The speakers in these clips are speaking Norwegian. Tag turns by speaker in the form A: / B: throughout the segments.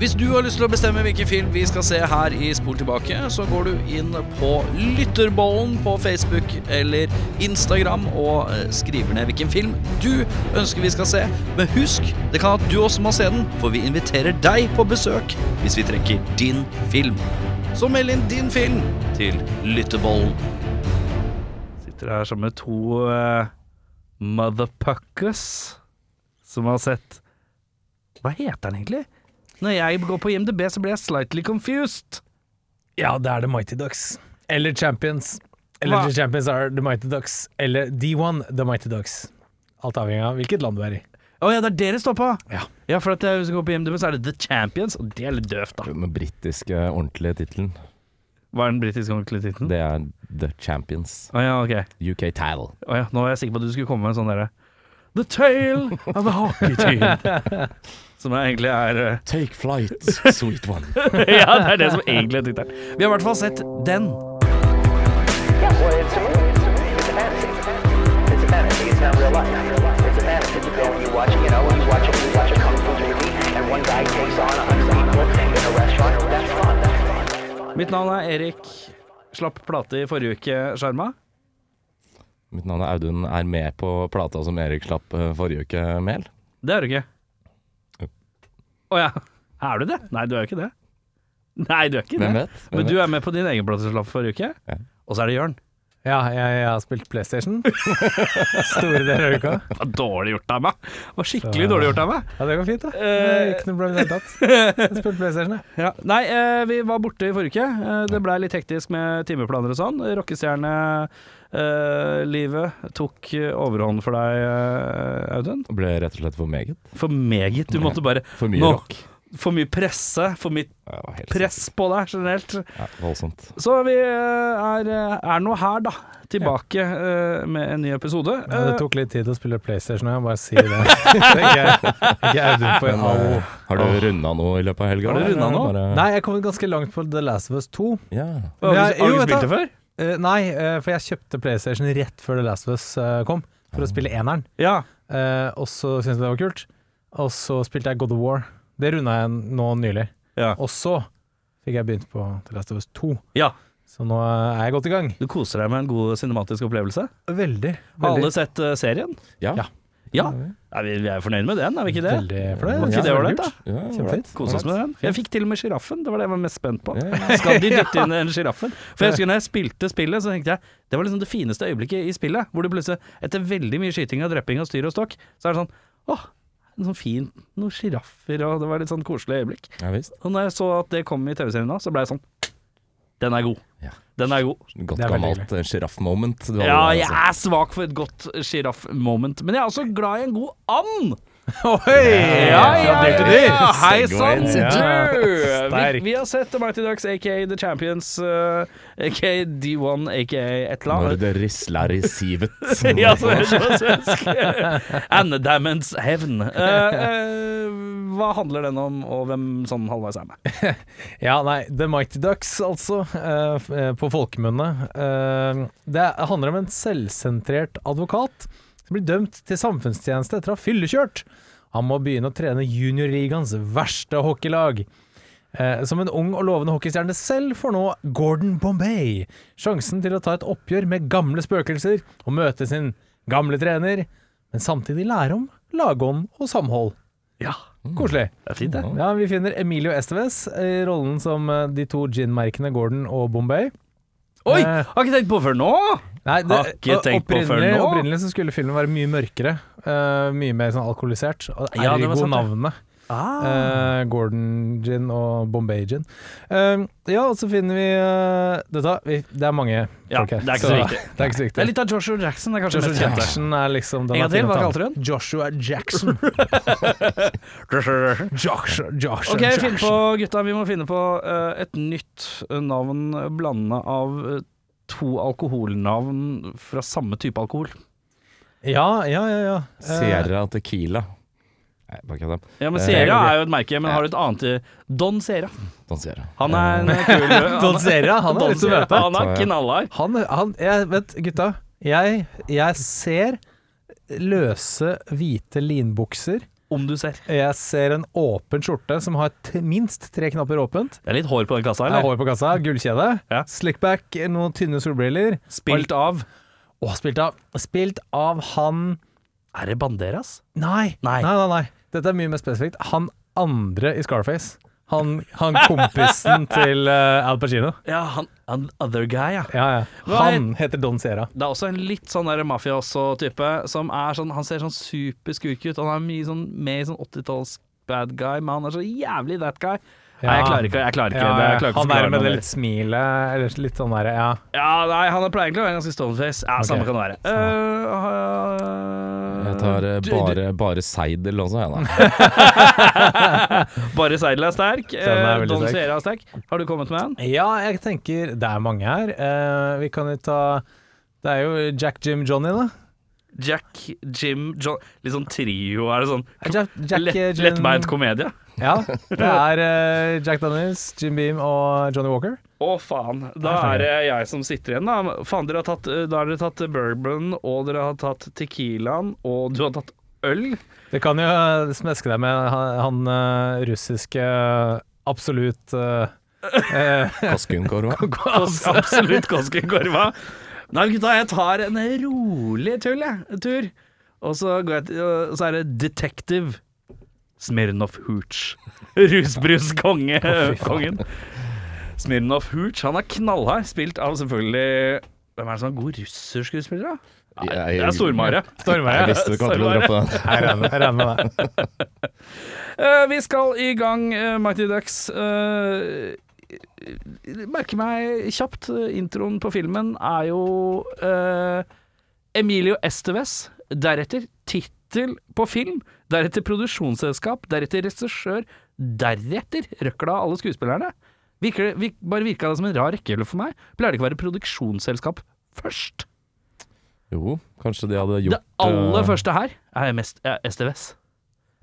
A: Hvis du har lyst til å bestemme hvilken film vi skal se her i Spol tilbake, så går du inn på Lytterbollen på Facebook eller Instagram og eh, skriver ned hvilken film du ønsker vi skal se. Men husk, det kan at du også må se den, for vi inviterer deg på besøk hvis vi trekker din film. Så meld inn din film til Lytterbollen. Sitter her sammen med to eh, motherpuckers som har sett Hva heter den egentlig? Når jeg går på IMDb, så blir jeg slightly confused.
B: Ja, det er The Mighty Ducks. Eller Champions. Eller
A: Hva?
B: The Champions are The Mighty Ducks. Eller D1 The Mighty Ducks. Alt avhengig av hvilket land du er i.
A: Å ja, det er det det står på?
B: Ja.
A: for at jeg, hvis jeg går på IMDb, så er det The Champions, og det er litt døvt, da.
C: Den britiske ordentlige tittelen,
A: Hva er den britiske ordentlige tittelen?
C: det er The Champions.
A: Å ja, ok.
C: UK Title.
A: Å ja, nå var jeg sikker på at du skulle komme med en sånn derre The tale of a hockey team. Som er egentlig er eh,
C: Take flight, sweet one.
A: Ja, det er det som egentlig er tittelen. Vi har i hvert fall sett den.
D: Yeah, well, it's a movie. It's a movie. It's a fantasy. It's a fantasy. It's not real life. It's a fantasy. You go and you watch, you know, you watch a, you watch a kung fu movie, and one guy takes on a hundred people in a restaurant. That's fun. That's fun.
A: Mitt navn er Erik. Slapp plate i forrige uke, Sjarma.
C: Mitt navn er Audun, er med på plata som Erik slapp eh, forrige uke, Mel.
A: Det er du ikke.
C: Jo.
A: Å ja. Er du det? Nei, du er jo ikke det. Nei, du er ikke
C: Hvem
A: det.
C: vet? Hvem
A: Men du
C: vet?
A: er med på din egen plateslapp forrige uke.
C: Ja.
A: Og så er det Jørn.
B: Ja, jeg, jeg har spilt PlayStation. Store deler av uka.
A: Det var dårlig gjort av meg. Det var skikkelig
B: Ja.
A: dårlig gjort av meg.
B: Ja, det går fint, da. Det er
A: Eh.
B: ikke noe problem i det hele tatt. Jeg har spilt PlayStation, jeg.
A: Ja. Nei, eh, vi var borte i forrige uke. Eh, det blei litt hektisk med timeplaner og sånn. Rockestjernelivet tok eh, overhånd for deg, eh, Audun.
C: Det ble rett og slett for meget.
A: For meget. Du måtte bare
C: For mye
A: Nå.
C: rock.
A: For mye presse, for mye
C: Ja, det var helt
A: press på deg generelt.
C: sykt. Ja, voldsomt.
A: Så vi eh, er, er nå her, da. Tilbake eh, med en ny episode.
B: Ja, det
A: Eh,
B: tok litt tid å spille PlayStation, jeg må bare si det. Det er ikke, ikke Audun på en
C: Men,
B: au.
C: eh, har du runda noe i løpet av helga?
A: Har du
C: eller?
A: rundet noe?
C: Bare-
B: Nei, jeg kom ganske langt på The Last of Us 2.
C: Ja.
A: har du-
B: Jeg-
A: har
B: jo,
A: du
B: vet
A: spilt
B: du-
A: det før?
B: Eh, nei, eh, for jeg kjøpte PlayStation rett før The Last of Us eh, kom, for å spille eneren.
A: Ja.
B: Eh, og så syntes jeg det var kult. Og så spilte jeg God of War. Det runda jeg nå nylig.
A: Ja.
B: Og så fikk jeg begynt på The Last of Us 2,
A: ja.
B: så nå er jeg godt i gang.
A: Du koser deg med en god cinematisk opplevelse?
B: Veldig.
A: Har alle
B: Veldig,
A: sett eh, serien?
C: Ja.
B: Ja.
A: Ja. Nei, vi, vi er fornøyd med den, er vi ikke det?
B: veldig
A: Var
B: fornøyd.
A: ikke det ålreit, da?
C: Ja,
B: Kjempefint.
A: Kose oss med den. Jeg fikk til og med sjiraffen. Det var det jeg var mest spent på.
C: Ja,
A: Skal de dytte inn den sjiraffen? For jeg husker når jeg spilte spillet, så tenkte jeg det var liksom det fineste øyeblikket i spillet. Hvor det plutselig, etter veldig mye skyting og dreping og styr og stokk, så er det sånn åh, en sånn fin Noen sjiraffer og Det var litt sånn koselig øyeblikk.
C: Ja visst.
A: Og når jeg så at det kom i TV-serien da, så ble jeg sånn Den er god.
C: Ja.
A: Den er god.
C: Godt
B: Det er veldig
C: gammelt eh, sjiraff-moment. du hadde
A: Ja,
C: der,
A: jeg
C: altså.
A: er svak for et godt sjiraff-moment, men jeg er også glad i en god and.
B: Ohoi! Fra dyr til dyr.
A: Hei sann,
B: Ja.
A: du! Vi,
B: Sterk.
A: vi har sett The Mighty Ducks, aka The Champions, eh, aka D1, aka et eller
C: Når
A: annet.
C: det risler i sivet.
A: Ja, så høres det på svensk. Annedammens hevn. Eh, eh, hva handler den om, og hvem sånn halvveis er med?
B: Ja, nei, The Mighty Ducks, altså, eh, f- eh, på folkemunne. Eh, det handler om en selvsentrert advokat som blir dømt til samfunnstjeneste etter å ha fyllekjørt. Han må begynne å trene juniorligaens verste hockeylag. Eh, som en ung og lovende hockeystjerne selv får nå Gordon Bombay sjansen til å ta et oppgjør med gamle spøkelser og møte sin gamle trener, men samtidig lære om lagånd og samhold.
A: Ja,
B: Koselig.
A: det er fint, det.
B: Ja, vi finner Emilio Esteves i rollen som eh, de to gin-merkene Gordon og Bombay.
A: Oi!
B: Eh,
A: Har ikke tenkt på før nå!
B: Nei, det, eh,
A: Har ikke tenkt på før
B: opprinnelig,
A: nå.
B: opprinnelig så skulle filmen være mye mørkere. eh, mye mer sånn alkoholisert. og
A: Ja, Ah. det var
B: Ergo
A: sant, det.
B: navnet. Eh, Gordon gin og Bombay gin. Eh, ja, og så finner vi eh, Dette vi, Det er mange
A: Ja,
B: folk her.
A: det er ikke så viktig.
B: Det er ikke så
A: Det er
B: viktig.
A: litt av Joshua Jackson, det er kanskje
B: Joshua
A: mest kjente.
B: Jackson er liksom den
A: En gang
B: er fin
A: til,
B: å
A: hva
B: ta med.
A: kalte du den?
B: Joshua Jackson. Joshua, Joshua
A: Ok, finn
B: Jackson.
A: på gutta, vi må finne på eh, et nytt eh, navn blanda av eh, to alkoholnavn fra samme type alkohol.
B: Ja, ja, ja. ja. Eh,
C: Sierra Tequila. Nei, bare kødda.
A: Ja, men
C: Eh,
A: Sierra
B: ok.
A: er jo et merke, men har du et annet eh, Don Sierra.
C: Don Sierra.
A: Han er en eh, kul
B: Eh, Don Sierra, han er
A: Don
B: litt som
A: Sierra,
B: møte.
A: Han er knallhard.
B: Han, han jeg, Vent, gutta. Jeg, jeg ser løse, hvite linbukser
A: om du ser.
B: Jeg ser en åpen skjorte som har t minst tre knapper åpent.
A: Det er litt hår på den kassa,
B: Jeg har
A: eller?
B: hår på kassa, gullkjede,
A: Ja.
B: slickback, noen tynne solbriller.
A: Spilt av
B: Å, spilt av Spilt av han
A: Er det Banderas?
B: Nei.
A: Nei.
B: nei, nei, nei. Dette er mye mer spesifikt. Han andre i Scarface. Han, han kompisen til eh, Al Pacino.
A: Ja, han, han other guy, ja.
B: Ja, ja.
A: Hva er-
B: Han heter Don Sierra.
A: Det er også en litt sånn der mafia også type som er sånn Han ser sånn superskurk ut. Han er mye sånn med i sånn 80-talls bad guy, men han er så jævlig that guy. Nei, jeg klarer ikke. jeg klarer ikke,
B: Ja,
A: det,
B: ja.
A: jeg klarer ikke å
B: han er
A: forklare
B: med
A: meg
B: det
A: mer.
B: litt smilet, eller litt sånn derre ja.
A: Ja, nei, han er pleier egentlig å være ganske stoneface. Ja, Samme kan det være. Eh,
C: Jeg tar eh,
A: du-
C: bare, bare seidel også, jeg, da.
A: du- Bare Seidel er sterk.
B: er
A: eh,
B: veldig
A: Don
B: sterk.
A: Sierra er sterk. Har du kommet med en?
B: ja, jeg tenker Det er mange her. Eh, vi kan jo ta Det er jo Jack Jim Johnny, da.
A: Jack, Jim, John Litt sånn trio, er det sånn
B: Jack, Jack,
A: lett,
B: eh, Jim-
A: lettbeint komedie?
B: Ja. Det er eh, Jack Daniels, Jim Beam og Johnny Walker.
A: Å, faen. Da
B: Nei,
A: er det jeg som sitter igjen, da. Faen, dere har tatt, eh, da har dere tatt bourbon, og dere har tatt tequilaen, og du har tatt øl.
B: Du kan jo eh, smeske deg med han, han eh, russiske absolutt eh, eh,
C: Kaskunkorva.
A: altså, Absolutt Koskenkorva. Nei, gutta, jeg tar en rolig tull, jeg. Tur. Og så, går jeg til, og så er det Detective Smirnov Hooch. Rusbruskongen. Smirnov Hooch, han er knallhard. Spilt av selvfølgelig Hvem er det som er god russerskuespiller, da?
C: Jeg-
A: Det er Stormare.
B: Stormare.
C: Jeg visste du kom til å
A: Stormare.
C: droppe den.
B: Jeg regner jeg regner med det.
A: Eh, vi skal i gang, eh, Mighty Ducks. Eh, merker meg kjapt, eh, introen på filmen er jo eh, Emilio Esteves, deretter tittel på film, deretter produksjonsselskap, deretter regissør, deretter røkla av alle skuespillerne. Virker, det- vir, bare virka det som en rar rekkefølge for meg. Pleier det ikke å være produksjonsselskap først?
C: Jo, kanskje de hadde gjort
A: det aller
C: eh,
A: første her er mest eh, Esteves.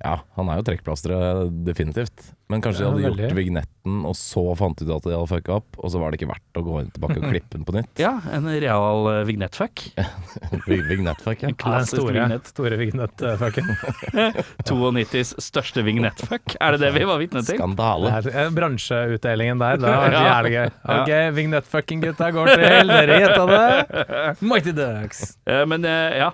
C: Ja, han er jo trekkplasteret, eh, definitivt. Men kanskje de
B: Ja,
C: hadde gjort
B: veldig.
C: vignetten, og så fant de ut at de hadde fucka opp, og så var det ikke verdt å gå inn tilbake og klippe den på nytt.
A: Ja, en real eh, vignettfuck.
C: Vig- Vignettfuck, ja.
B: Ja, Den
A: Klassisk
B: store,
A: vignett.
B: store vignett-fucken.
A: 92s største vignettfuck. Er det det vi var vitne til?
C: Skandale.
B: Bransjeutdelingen eh, der, det var
A: Ja.
B: jævlig gøy. Ok, vignett-fucking-gutta går til, dere gjetta det. Mighty Ducks.
A: Eh, Men eh, ja.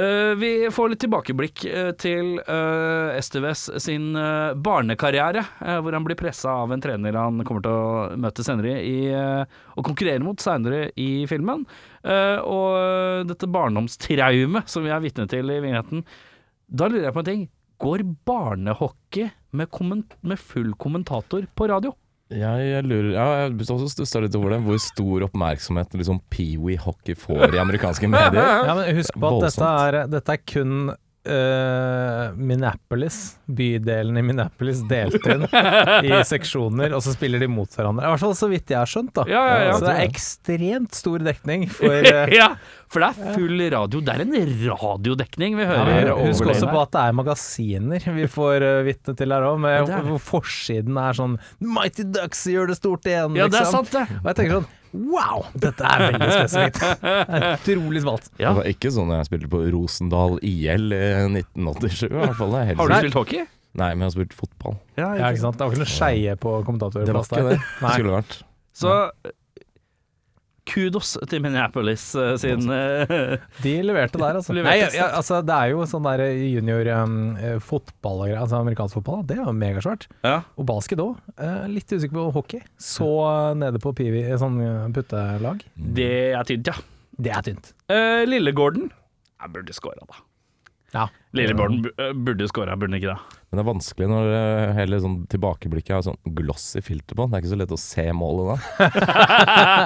A: Eh, Vi får litt tilbakeblikk eh, til eh, Esteves sin eh, barnekarriere, eh, hvor han blir pressa av en trener han kommer til å møte senere i, eh, og konkurrere mot senere i filmen. Eh, Og eh, dette barndomstraumet som vi er vitne til i vignetten. Da lurer jeg på en ting. Går barnehockey med, komment med full kommentator på radio?
C: Jeg, jeg lurer ja, Jeg også stussa litt over det. Hvor stor oppmerksomhet liksom peewee hockey får i amerikanske medier.
B: Ja, men husk på at dette er, dette er kun eh, Minneapolis, bydelen i Minneapolis, delt inn i seksjoner, og så spiller de mot hverandre. I hvert fall så vidt jeg har skjønt, da.
A: Ja, ja, ja.
B: Så det er ekstremt stor dekning for eh,
A: ja, for det er full radio. Det er en radiodekning vi hører.
B: men
A: over
B: Husk
A: det
B: også
A: der.
B: på at det er magasiner vi får eh, vitne til her òg,
A: det er det.
B: hvor forsiden er sånn Mighty Ducks gjør det stort igjen,
A: Ja, det er
B: liksom.
A: sant, det.
B: Og jeg tenker sånn Wow, dette er veldig spesifikt. Det er Utrolig smalt.
A: Ja.
C: Det var ikke sånn jeg spilte på Rosendal IL i 1987, i hvert fall. Det er helt
A: Har du
C: sikkert.
A: spilt hockey?
C: Nei, men jeg har spilt fotball.
B: Ja, ikke sant? Det var ikke noe skeie på
C: Det var
B: kommentatorplass
C: ikke
B: der.
C: det. Det skulle vært.
A: Så eh, kudos til Minneapolis eh, sin eh,
B: De leverte der, altså.
A: Leverte
B: Nei, ja,
A: sterkt.
B: ja, altså det er jo sånn der junior um, eh, fotball og greier, altså amerikansk fotball, det er jo megasvært.
A: Ja.
B: Og basket òg. litt usikker på hockey. Så eh, nede på pivi, eh, sånn eh, puttelag.
A: Det er tynt, ja.
B: Det er tynt.
A: Eh, Lillegården Jeg burde skåra, da.
B: Ja.
A: Lillegården bu- eh, burde skåra, burde den ikke det?
C: Men det er vanskelig når eh, hele sånn tilbakeblikket har sånn glossy filter på. Det er ikke så lett å se målet da.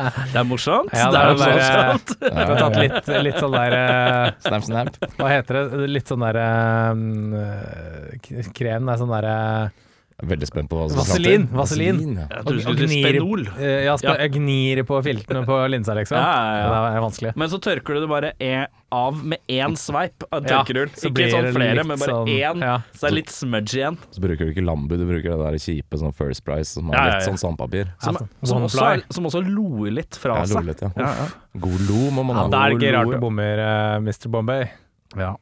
A: Det er morsomt.
B: Ja,
A: det
B: det
A: er
B: er bare-
A: morsomt.
B: Du har tatt litt, litt sånn der eh,
C: Snap, snap.
B: Hva heter det? Litt sånn der um, eh, k- Krem, nei, sånn der eh,
C: Jeg er Veldig spent på hva som
B: Vaselin,
C: framtrer.
B: vaselin.
C: ja.
A: Jeg tror du
B: Og- og
A: skulle si
B: gnir-
A: Spenol.
B: eh, Ja, sp
A: Ja.
B: jeg gnir på filtene på linsa, liksom.
A: Ja, ja, ja.
B: Det er vanskelig.
A: Men så tørker du det bare e av med én sveip av
B: Ja,
A: tørkerull.
B: så
A: ikke
B: blir
A: sånn
B: det
A: flere,
B: litt
A: men bare
B: sånn-
A: én.
B: ja.
A: Så det er litt smudge igjen.
C: Så bruker du ikke Lambu, du bruker det der kjipe sånn First Price som
A: Ja,
C: er
A: ja,
C: litt
A: ja.
C: sånn sandpapir.
A: Som,
B: Ja, sånn
A: som,
B: one
A: også,
B: ply.
A: er, som også loer litt fra
C: Ja,
A: seg.
C: lollet, ja.
A: altså. Ja, ja.
C: God lo må man
B: Ja,
C: ha.
B: da er det ikke
C: God
B: rart
C: lo,
B: du
C: ja.
B: bommer, eh, Mr. Bombay.
A: Ja.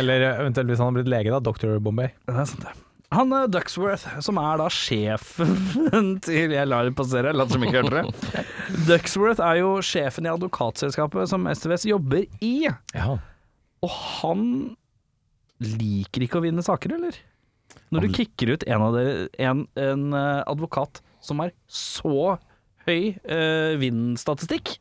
B: Eller eventuelt hvis han har blitt lege, da. Dr. Bombay.
A: Det er sant, det. Han eh, Duxworth, som er da sjefen til Jeg lar det passere, lat som ikke hørte det. Duxworth er jo sjefen i advokatselskapet som STVS jobber i,
C: Ja.
A: og han liker ikke å vinne saker, eller? Når du kicker ut en, av dere, en, en eh, advokat som har så høy eh, vinnstatistikk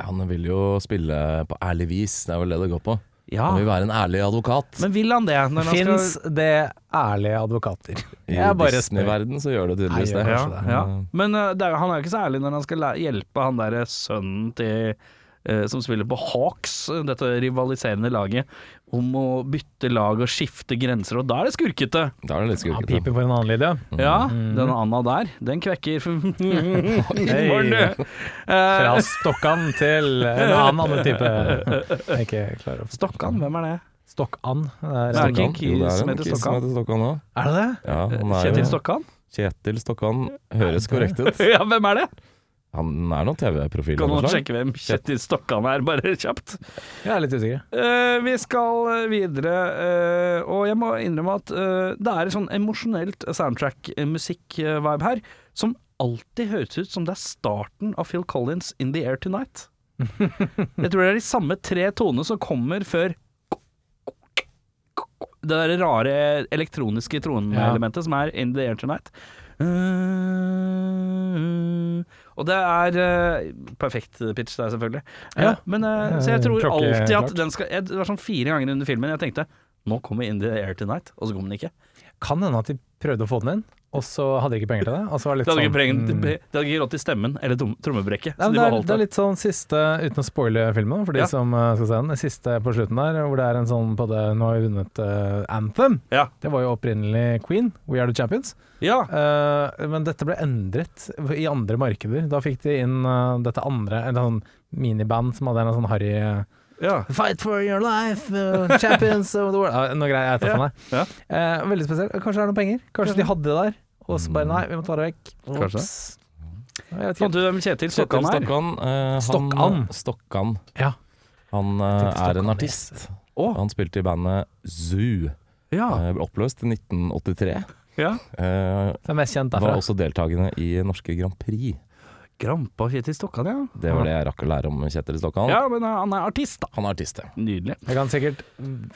C: Han vil jo spille på ærlig vis, det er vel det det går på.
A: Ja,
C: Han vil være en ærlig advokat.
A: men vil han det? Når han skal-
B: Fins det ærlige advokater?
C: I
B: Jeg bare spør.
C: Disney-verden så gjør det tydeligvis
B: Nei,
C: det. Mm.
B: gjør
A: Ja, ja. Men eh, det er, han er jo ikke så ærlig når han skal læ- hjelpe han derre sønnen til eh, som spiller på Hawks, eh, dette rivaliserende laget, om å bytte lag og skifte grenser, og da er det skurkete.
C: Da er det litt
B: Han
C: skurkete.
B: piper for en annen lyd, ja.
C: Mm.
A: Ja, den Anna der, den kvekker Morgen, du.
B: Fra
A: Eh,
B: Stokkan til en annen, annen type. Jeg er ikke klar over
A: Stokkan, hvem er det?
B: Stokkan? Er,
A: Nei.
B: er
A: ikke en
C: Jo, det
A: kis
C: er
A: som
C: en
A: heter
C: kis som
A: Stokkan.
C: heter Stokkan òg.
B: det det?
C: Ja, han er
A: Kjetil
C: jo-
A: Stokkan?
C: Kjetil Stokkan høres korrekt ut.
A: Ja, hvem er det?
C: Han er noen TV-profil.
A: Kan
C: av noe
A: noen
C: slag.
A: sjekke hvem Kjetil Stokkan er, bare kjapt?
B: Jeg er litt usikker.
A: Eh, vi skal eh, videre, eh, og jeg må innrømme at eh, det er et sånn emosjonelt eh, soundtrack-musikk-vibe her, som alltid høres ut som det er starten av Phil Collins' In The Air Tonight. jeg tror det er de samme tre tonene som kommer før det der rare elektroniske troneelementet som er In The Air Tonight. Eh, Og det er eh, perfekt pitch der, selvfølgelig. Eh,
B: Ja.
A: Men, eh, så jeg
B: Eh,
A: tror
B: klokke-
A: alltid at
B: klart.
A: den skal jeg, Det var sånn fire ganger under filmen jeg tenkte nå kommer In The Air Tonight, og så kom den ikke.
B: Kan hende at de prøvde å få den inn, og så hadde de ikke penger til det. Og så var det
A: Det
B: litt
A: hadde ikke,
B: sånn,
A: brengt-
B: mm.
A: det hadde ikke råd til stemmen eller tom- trommebrekket,
B: Nei,
A: så
B: men
A: de
B: det,
A: bare
B: er,
A: holdt
B: det er
A: det.
B: litt sånn siste, uten å spoile filmen, for de
A: Ja.
B: som eh, skal se den, det siste på slutten der, hvor det er en sånn på det Nå har vi vunnet eh, Anthem.
A: Ja.
B: Det var jo opprinnelig Queen, We Are The Champions.
A: ja.
B: Eh, men dette ble endret i andre markeder. Da fikk de inn eh, dette andre, en sånn miniband som hadde en sånn harry eh,
A: ja.
B: Fight for your life, eh, champions of the world Ja, Noe greier jeg tar for meg.
A: Ja.
B: Eh, veldig spesielt. Kanskje det er noen penger? Kanskje de hadde det der, og så bare nei, vi må ta det vekk.
A: Mm. Kanskje.
B: Ops. Jeg vet
A: Fant
B: ikke.
A: du hvem Kjetil
C: Kjetil
A: Stokkan er?
C: Stokkan. eh, han-
B: Stokkan.
C: Stokkan.
B: Ja.
C: Han eh,
B: Stokkan
C: er en
B: er-
C: artist.
A: Å.
C: Han spilte i bandet Zoo.
A: Ja.
C: Eh, Ble oppløst i 1983.
A: Ah. ja.
C: Eh,
B: Det er mest kjent
C: Var
B: derfra.
C: også deltakende i norske Grand Prix.
A: Grampa Kjetil Stokkan, ja.
C: Det var det jeg rakk å lære om Kjetil Stokkan.
A: Ah. Ja, men eh, han er artist, da.
C: Han er artist, ja.
A: Nydelig.
B: Jeg kan sikkert,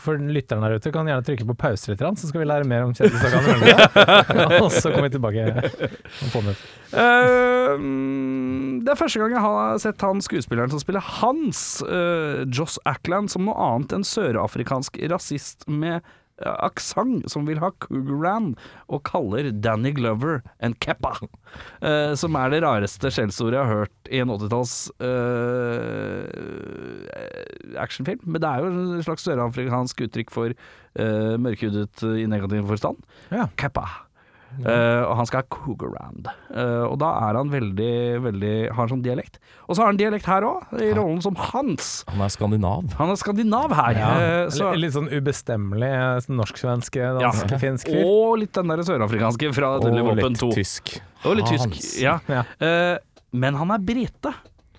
B: for lytteren der ute, kan gjerne trykke på pause litt, grann, så skal vi lære mer om Kjetil Stokkan. og så kommer vi tilbake om få minutter.
A: Eh, mm, det er første gang jeg har sett han skuespilleren som spiller Hans, eh, Joss Ackland, som noe annet enn sørafrikansk rasist med uh, aksent som vil ha Cougaran, og kaller Danny Glover en keppa. eh, som er det rareste skjellsordet jeg har hørt i en 80-talls eh, actionfilm. Men det er jo et slags sørafrikansk uttrykk for uh, mørkhudet i negativ forstand.
B: Ja.
A: Kappa. Eh, og han skal ha Cougarand. Uh, og da er han veldig, veldig Har sånn dialekt. Og så har han dialekt her òg, i rollen som Hans.
C: Han er skandinav.
A: Han er skandinav her. eh, så,
B: Litt- Litt sånn ubestemmelig eh, sånn norsk-svensk,
A: Ja.
B: dansk-finsk fyr.
A: og litt den der sørafrikanske fra Deadly Weapon 2.
C: tysk.
A: Og litt tysk.
C: Hans.
A: Ja.
B: Ja.
A: Eh, men han er brite.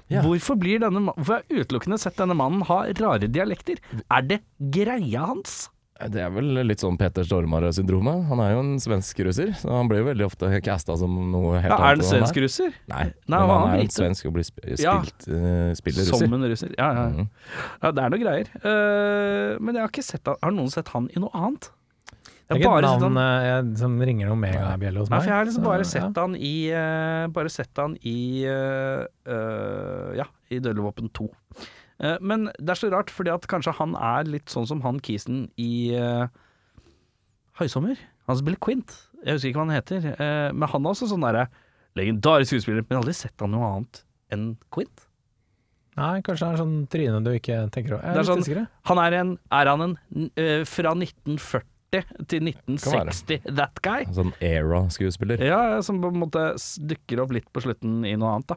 C: Ja.
A: Hvorfor blir denne ma- Hvorfor har jeg utelukkende sett denne mannen ha rare dialekter? Er det greia hans?
C: Det er vel litt sånn Peter Stormare-syndromet. Han er jo en svensk russer, så han blir jo veldig ofte casta som noe helt
A: Ja, er han
C: enn han
A: svensk russer?
C: Nei,
A: Nei,
C: men
A: han
C: han
A: er
C: er
A: hvite.
C: en svensk og blir sp spilt,
A: Ja.
C: eh, spiller russer.
A: Som en russer. Ja, ja. ja. ja det er noe greier. Eh, men jeg har ikke sett han Har noen sett han i noe annet?
B: Det er
A: Jeg
B: ikke
A: har
B: et
A: bare sett
B: navn
A: han
B: eh, jeg- som ringer noen megabjelle hos
A: Nei,
B: meg.
A: for jeg har liksom
B: så-
A: bare
B: ja.
A: sett han i eh, Bare sett han i eh, eh, Ja, i Dødelig 2. Eh, men det er så rart, fordi at kanskje han er litt sånn som han Kisen i eh, Høysommer. Han spiller Quint. Jeg husker ikke hva han heter. eh, men han er også sånn derre legendarisk skuespiller. Men jeg har aldri sett han noe annet enn Quint.
B: Nei, kanskje det er sånn tryne du ikke tenker over. Jeg er
A: Det er
B: litt
A: sånn-
B: usikker. jeg.
A: Han er en Er han en eh, fra 1940 til
C: være.
A: 1960 that guy?
C: Sånn era-skuespiller.
A: Ja, ja, som på en måte s- dukker opp litt på slutten i noe annet, da.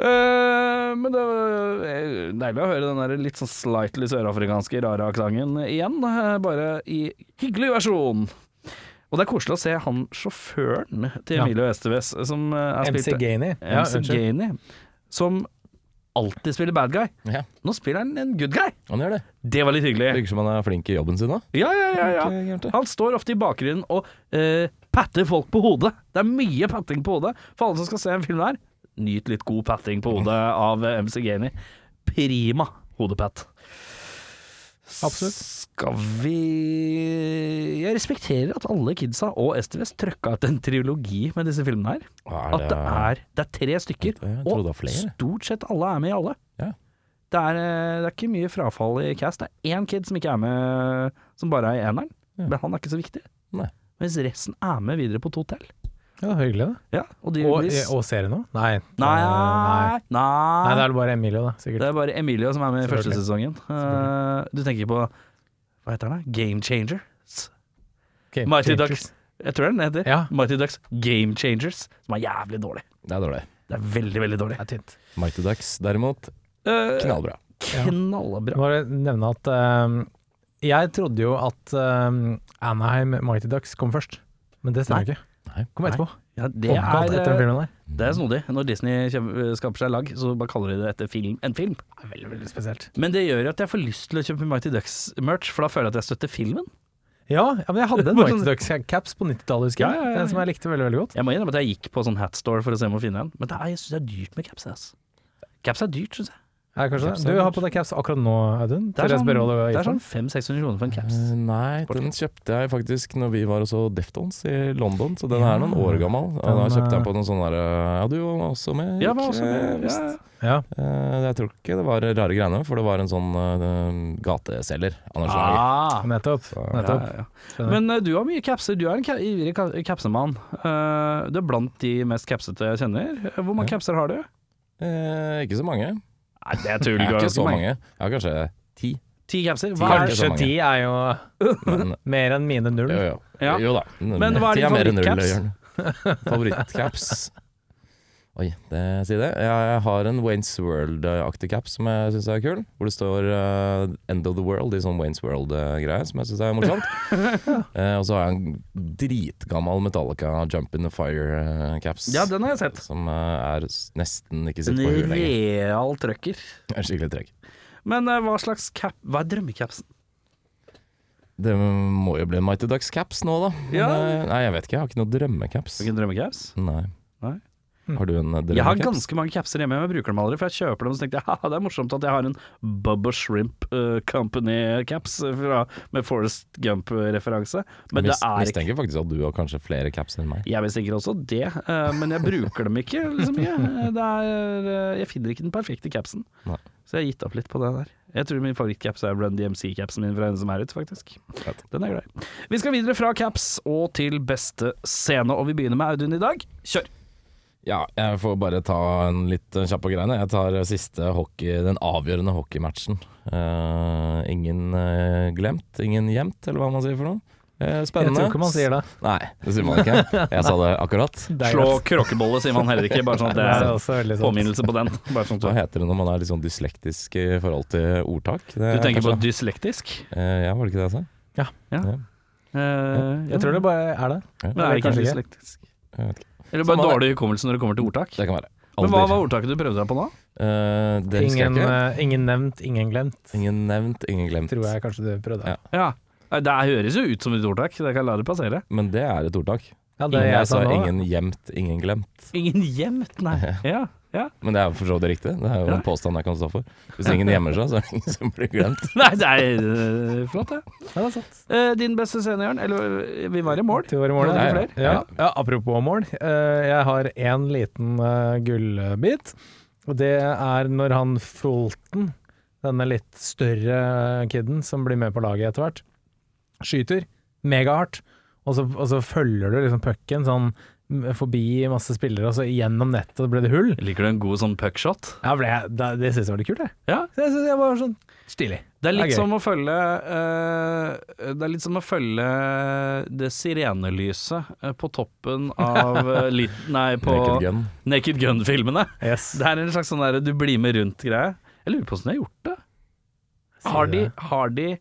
A: Eh, men det var eh, deilig å høre den der litt sånn slightly sørafrikanske rare aksenten igjen, eh, bare i hyggelig versjon. Og det er koselig å se han sjåføren til
B: Ja.
A: Emilio Estevez som eh, er spilt
B: MC Gainey. Ja,
A: MC
B: unnskyld.
A: Gainey, som alltid spiller bad guy.
C: Ja,
A: Nå spiller han en good guy.
C: han gjør det.
A: Det var litt
C: Det
A: hyggelig.
C: Virker som han er flink i jobben sin da.
A: Ja, ja, ja,
C: Ikke
A: ja.
C: gærent, det.
A: Han står ofte i bakgrunnen og eh, patter folk på hodet. Det er mye patting på hodet. For alle som skal se en film der, nyt litt god patting på hodet av eh, MC Genie. Prima hodepatt.
B: Absolutt.
A: Skal vi Jeg respekterer at alle kidsa og STVS trøkka ut en trilogi med disse filmene her.
C: Hva
A: At det er, det er tre stykker,
C: Jeg trodde det var
A: og
C: flere.
A: stort sett alle er med i alle.
C: Ja.
A: Det er, eh, det er ikke mye frafall i cast. Det er én kid som ikke er med, som bare er i eneren.
C: Ja.
A: Men han er ikke så viktig.
C: Nei.
A: Mens resten er med videre på to til.
B: Ja, hyggelig, det.
A: Ja, og de
B: Og, eh,
A: blir s-
B: og serien òg? Nei. Eh,
A: Nei,
B: nei.
A: nei,
B: Nei, det er bare Emilio, da.
A: Det
B: Sikkert.
A: er bare Emilio som er med i første sesongen.
B: Selvfølgelig.
A: Eh, du tenker på Hva heter den? da? Game Changers?
B: Game
A: Mighty
B: Changers.
A: Ducks. Jeg tror den heter
B: Ja.
A: Mighty Ducks Game Changers, som er jævlig dårlig.
C: Det er dårlig.
A: Det er veldig, veldig dårlig.
B: Det er tynt.
C: Mighty Ducks derimot,
A: Eh,
C: knallbra.
B: Jeg
A: knallbra.
B: må Bare nevne at ehm, jeg trodde jo at ehm, Anaheim Mighty Ducks kom først, men det stemmer
A: Nei.
B: ikke.
C: Nei.
B: Kom etterpå.
A: Ja, det,
B: Oppkalt
A: er,
B: etter den
A: eh,
B: filmen der.
A: det er snodig. Når Disney kjem- eh, skaper seg lag, så bare kaller de det etter film, en film.
B: Veldig, veldig spesielt.
A: Men det gjør at jeg får lyst til å kjøpe Mighty Ducks-merch, for da føler jeg at jeg støtter filmen.
B: Ja, ja, men jeg hadde en Mighty Ducks-caps på 90-tallet, husker jeg.
A: Ja, ja, ja, ja.
B: Den Som jeg likte veldig, veldig godt.
A: Jeg må innrømme at jeg gikk på sånn hatstore for å se om jeg finner en, men det er, jeg syns det er dyrt med caps. ass. Caps er dyrt, syns jeg.
B: Ja, kanskje
C: Caps
B: det.
C: er
B: Du har
C: lurt.
B: på deg caps akkurat nå, Audun.
A: Det er
B: Tør jeg
A: sånn,
B: spørre hva du har
A: det
B: gitt
A: er
B: den?
A: sånn 500-600 kroner for en caps.
C: Eh, Nei, den kjøpte jeg faktisk når vi var og så Deftones i London, så den er noen år gammel. Og da
B: Den,
C: kjøpte
B: eh,
C: jeg på noen sånne der eh, Ja, du var også med?
A: Ja,
C: Erik,
A: hva også
C: eh,
A: med,
C: visst.
A: ja.
B: Ja.
C: Eh, Jeg tror ikke det var rare greiene, for det var en sånn eh, gateselger av noe slag.
A: Ah,
B: Nettopp.
A: ja,
B: Nettopp.
A: ja, ja.
B: Skjønner.
A: Men eh, du har mye capser. Du er en ka- ivrig ka- capsemann. Eh, du er blant de mest capsete jeg kjenner. Eh, Hvor mange capser har du? Ah.
C: Eh, ikke så mange.
A: Nei, det er tull.
C: Jeg er ikke så mange. Jeg har kanskje ti.
A: Ti capser? Hva
C: Ti.
A: er,
B: Kanskje
C: mange.
B: de er jo
C: Men,
B: mer enn mine null.
C: jo, jo.
A: Ja.
C: jo da.
A: Men hva er
C: Ti
A: din
C: mer enn null,
A: favorittcaps?
C: Jørn. Favorittcaps? Oi, det, si det. Jeg har en Waynes World-aktig caps som jeg syns er kul. Hvor det står eh, 'End of the World' i sånn Waynes World-greie, som jeg syns er morsomt. Eh, og så har jeg en dritgammel Metallica 'Jump in the eh, Fire'-caps.
A: ja, den har jeg sett.
C: som eh, er s- nesten ikke
A: En
C: sitt på huet lenger.
A: real trøkker.
C: Det er Skikkelig trekk.
A: Men eh, hva slags cap Hva er drømmecapsen?
C: Det må jo bli en Mighty Ducks caps nå, da. Men,
A: Ja.
C: eh, Nei, jeg vet ikke. Jeg har ikke noe drømmecaps.
A: Hvilken drømmecaps?
C: Nei.
A: Nei.
C: Har du en eh, drømmecaps?
A: Jeg har ganske mange capser hjemme, men jeg bruker dem aldri. For jeg kjøper dem og så tenkte jeg haha, det er morsomt at jeg har en Bubba Shrimp eh, Company-caps fra- med Forest Gump-referanse. Men det
C: Mis-
A: er ikke
C: Mistenker faktisk at du har kanskje flere caps enn meg.
A: Jeg mistenker også det, eh, men jeg bruker dem ikke så mye. Det er, eh, jeg finner ikke den perfekte capsen,
C: Nei.
A: så jeg har gitt opp litt på det der. Jeg tror min favorittcaps er Run DMC-capsen min fra henne som er ute, faktisk.
C: Fett.
A: Den er grei. Vi skal videre fra caps og til beste scene, og vi begynner med Audun i dag. Kjør!
C: Ja, jeg får bare ta en litt eh, kjapp på greiene. Jeg tar eh, siste hockey, den avgjørende hockeymatchen. Eh, ingen eh, glemt, ingen gjemt, eller hva man sier for noe. Eh,
B: Jeg
C: spennende.
B: tror ikke man sier det.
C: Nei, det sier man ikke. Jeg sa det akkurat.
B: det er
A: Slå
B: greit.
A: kråkebolle, sier man heller ikke, bare sånn at
B: Det er
A: det er
B: også veldig sant.
A: påminnelse på den. Bare sånn at
C: Hva
A: du-
C: heter det når man er litt sånn dyslektisk i forhold til ordtak? Det
A: du
C: er
A: tenker på
C: kanskje-
A: dyslektisk?
C: Eh, ja, var det ikke det jeg sa?
A: Eh,
B: Jeg tror det bare er det.
A: Men er det ikke
B: Kanskje ikke.
A: dyslektisk?
C: Jeg vet
A: Eller bare
C: Samme det.
A: dårlig hukommelse når det kommer til ordtak?
C: Det kan være.
A: Men hva var ordtaket du prøvde deg på nå?
C: Eh, det husker
B: Ingen,
C: jeg ikke.
B: eh, ingen nevnt, ingen glemt,
C: Ingen nevnt, ingen glemt.
B: tror jeg kanskje du prøvde.
C: Ja.
B: Ja,
A: Ja. Nei, Det høres jo ut som et ordtak, det kan jeg la det passere.
C: Men det er et ordtak.
B: det
C: Ingen-
B: jeg sa nå.
C: ingen gjemt, ingen glemt.
A: Ingen gjemt, nei. Ja, ja.
C: Men det er jo for så vidt riktig. Det er jo
A: Ja.
C: en påstand jeg kan stå for. Hvis ingen gjemmer seg, så er det ingen som blir glemt.
A: Nei, det er øh, flott, det.
B: Ja, det er sant.
A: Eh, din beste scene, Jørn? Eller øh, vi var i mål.
B: Til våre mål,
A: Hadde
B: ja.
A: du
C: flere?
B: Ja. ja, apropos mål. eh, jeg har én liten eh, gullbit, og det er når han Fulton, denne litt større eh, kiden som blir med på laget etter hvert, skyter megahardt, og så, og så følger du liksom pucken sånn m- forbi masse spillere, og så gjennom nettet ble det hull.
A: Liker du en god sånn puckshot?
B: Ja, ble jeg, det det syns jeg var litt kult, jeg.
A: Ja.
B: Så jeg synes jeg var sånn stilig.
A: Det er litt
B: Det er gøy.
A: som å følge øh, Det er litt som å følge det sirenelyset øh, på toppen av øh, lit, Nei, på
C: Naked gun.
A: Naked Gun-filmene.
B: Yes.
A: Det er en slags sånn der du blir med rundt-greie. Jeg lurer på åssen de har gjort det. Har de, har de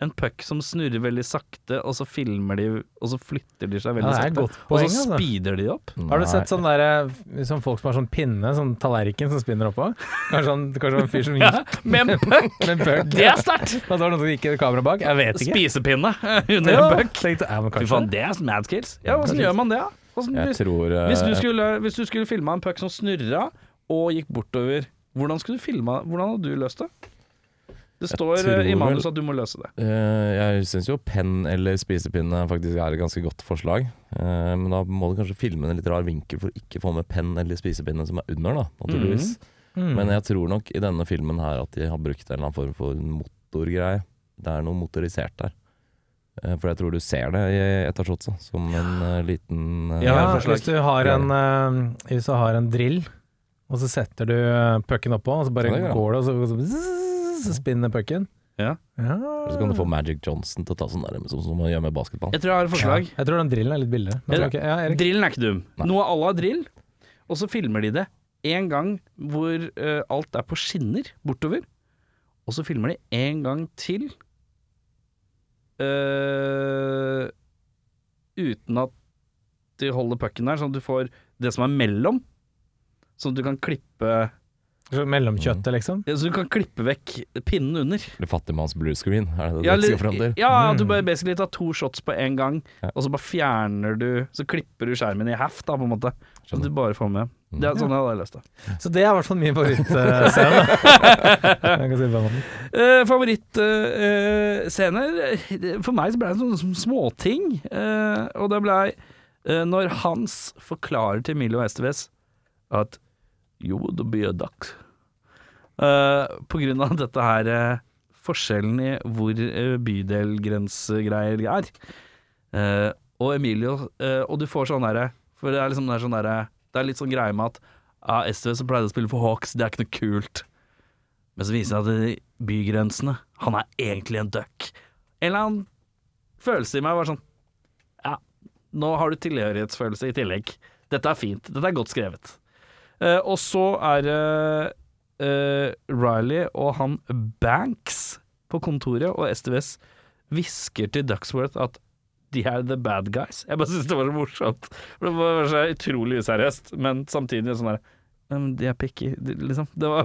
A: en puck som snurrer veldig sakte, og så filmer de, og så flytter de seg veldig
B: Ja, det er et
A: sakte.
B: godt poeng,
A: og så
B: altså.
A: speeder de opp.
B: Har du sett sånn der, eh, sånn folk som har sånn pinne, sånn tallerken som spinner oppå? Kanskje han kanskje en fyr som gikk
A: Med en puck!
B: med en bug?
A: Det er sterkt!
B: At det var noen som gikk i kamera bak? Jeg vet ikke.
A: Spisepinne under
B: Ja,
A: en puck.
B: tenkte, ja, men
A: Fy
B: kanskje.
A: faen, det er mad skills. Ja, åssen gjør man det, da? Hvordan-
C: Jeg
A: Hvis,
C: tror eh,
A: hvis du skulle, hvis du skulle filma en puck som snurra og gikk bortover, hvordan skulle du filma Hvordan hadde du løst det? Det står
C: tror
A: eh, i manus
C: vel-
A: at du må løse det.
C: eh, Jeg syns jo penn eller spisepinne faktisk er et ganske godt forslag. Eh, men da må du kanskje filme en litt rar vinkel for å ikke få med penn eller spisepinne som er under, da, naturligvis.
A: Mhm.
B: Mm.
C: Men eh, jeg tror nok i denne filmen her at de har brukt en eller annen form for motorgreie. Det er noe motorisert der. Eh, For jeg tror du ser det i et av shotsa, som en eh, liten eh,
B: Ja,
A: Ja,
B: hvis du har en, eh, hvis du har en drill, og så setter du eh, pucken oppå, og så bare
C: Sånn, ja.
B: går det, og så, og så, zzz, så spinner pucken.
A: Ja.
B: Ja.
C: Så kan du få Magic Johnson til å ta sånn der, som, som man gjør med basketball.
A: Jeg tror jeg har et forslag.
B: Jeg tror den drillen er litt billigere. Men,
A: Ja.
B: ok, ja, Erik.
A: Drillen er ikke dum.
C: Nei.
A: Noe à la drill, og så filmer de det én gang hvor eh, alt er på skinner bortover, og så filmer de én gang til eh, uten at de holder pucken der, sånn at du får det som er mellom. Sånn at du kan klippe
B: Så Mellomkjøttet, liksom.
A: ja, Så du kan klippe vekk pinnen under.
C: Eller fattigmanns blue screen, er det det
A: Ja,
C: du skal fram
A: eller,
C: til?
A: ja, at du bare basically tar to shots på én gang,
C: Ja.
A: og så bare fjerner du Så klipper du skjermen i half, da, på en måte. Så
C: Skjønner.
A: du bare får med.
C: Mm.
A: Det er sånn jeg hadde løst det.
B: Så det er i hvert fall min favorittscene. Jeg kan si det på den måten.
A: Eh, Favorittscener eh, For meg så ble det sånne sm- småting. eh, og det blei eh, når Hans forklarer til Milo Esteves at Jo, det blir dags. Eh, på grunn av dette her eh, forskjellen i hvor eh, bydelgrensegreier er. Eh, og Emilio eh, Og du får sånn derre For det er liksom det er sånn derre Det er litt sånn greie med at ja, Esteves som pleide å spille for Hawks, det er ikke noe kult. Men så viser det seg at de bygrensene Han er egentlig en duck. En eller annen følelse i meg var sånn Ja, nå har du tilhørighetsfølelse i tillegg. Dette er fint. Dette er godt skrevet. Eh, og så er det eh, Riley og han Banks på kontoret, og STVS hvisker til Ducksworth at de er the bad guys. Jeg bare syns det var så morsomt. For Det var så utrolig useriøst, men samtidig sånn der «Ja, men De er picky, de- liksom. Det var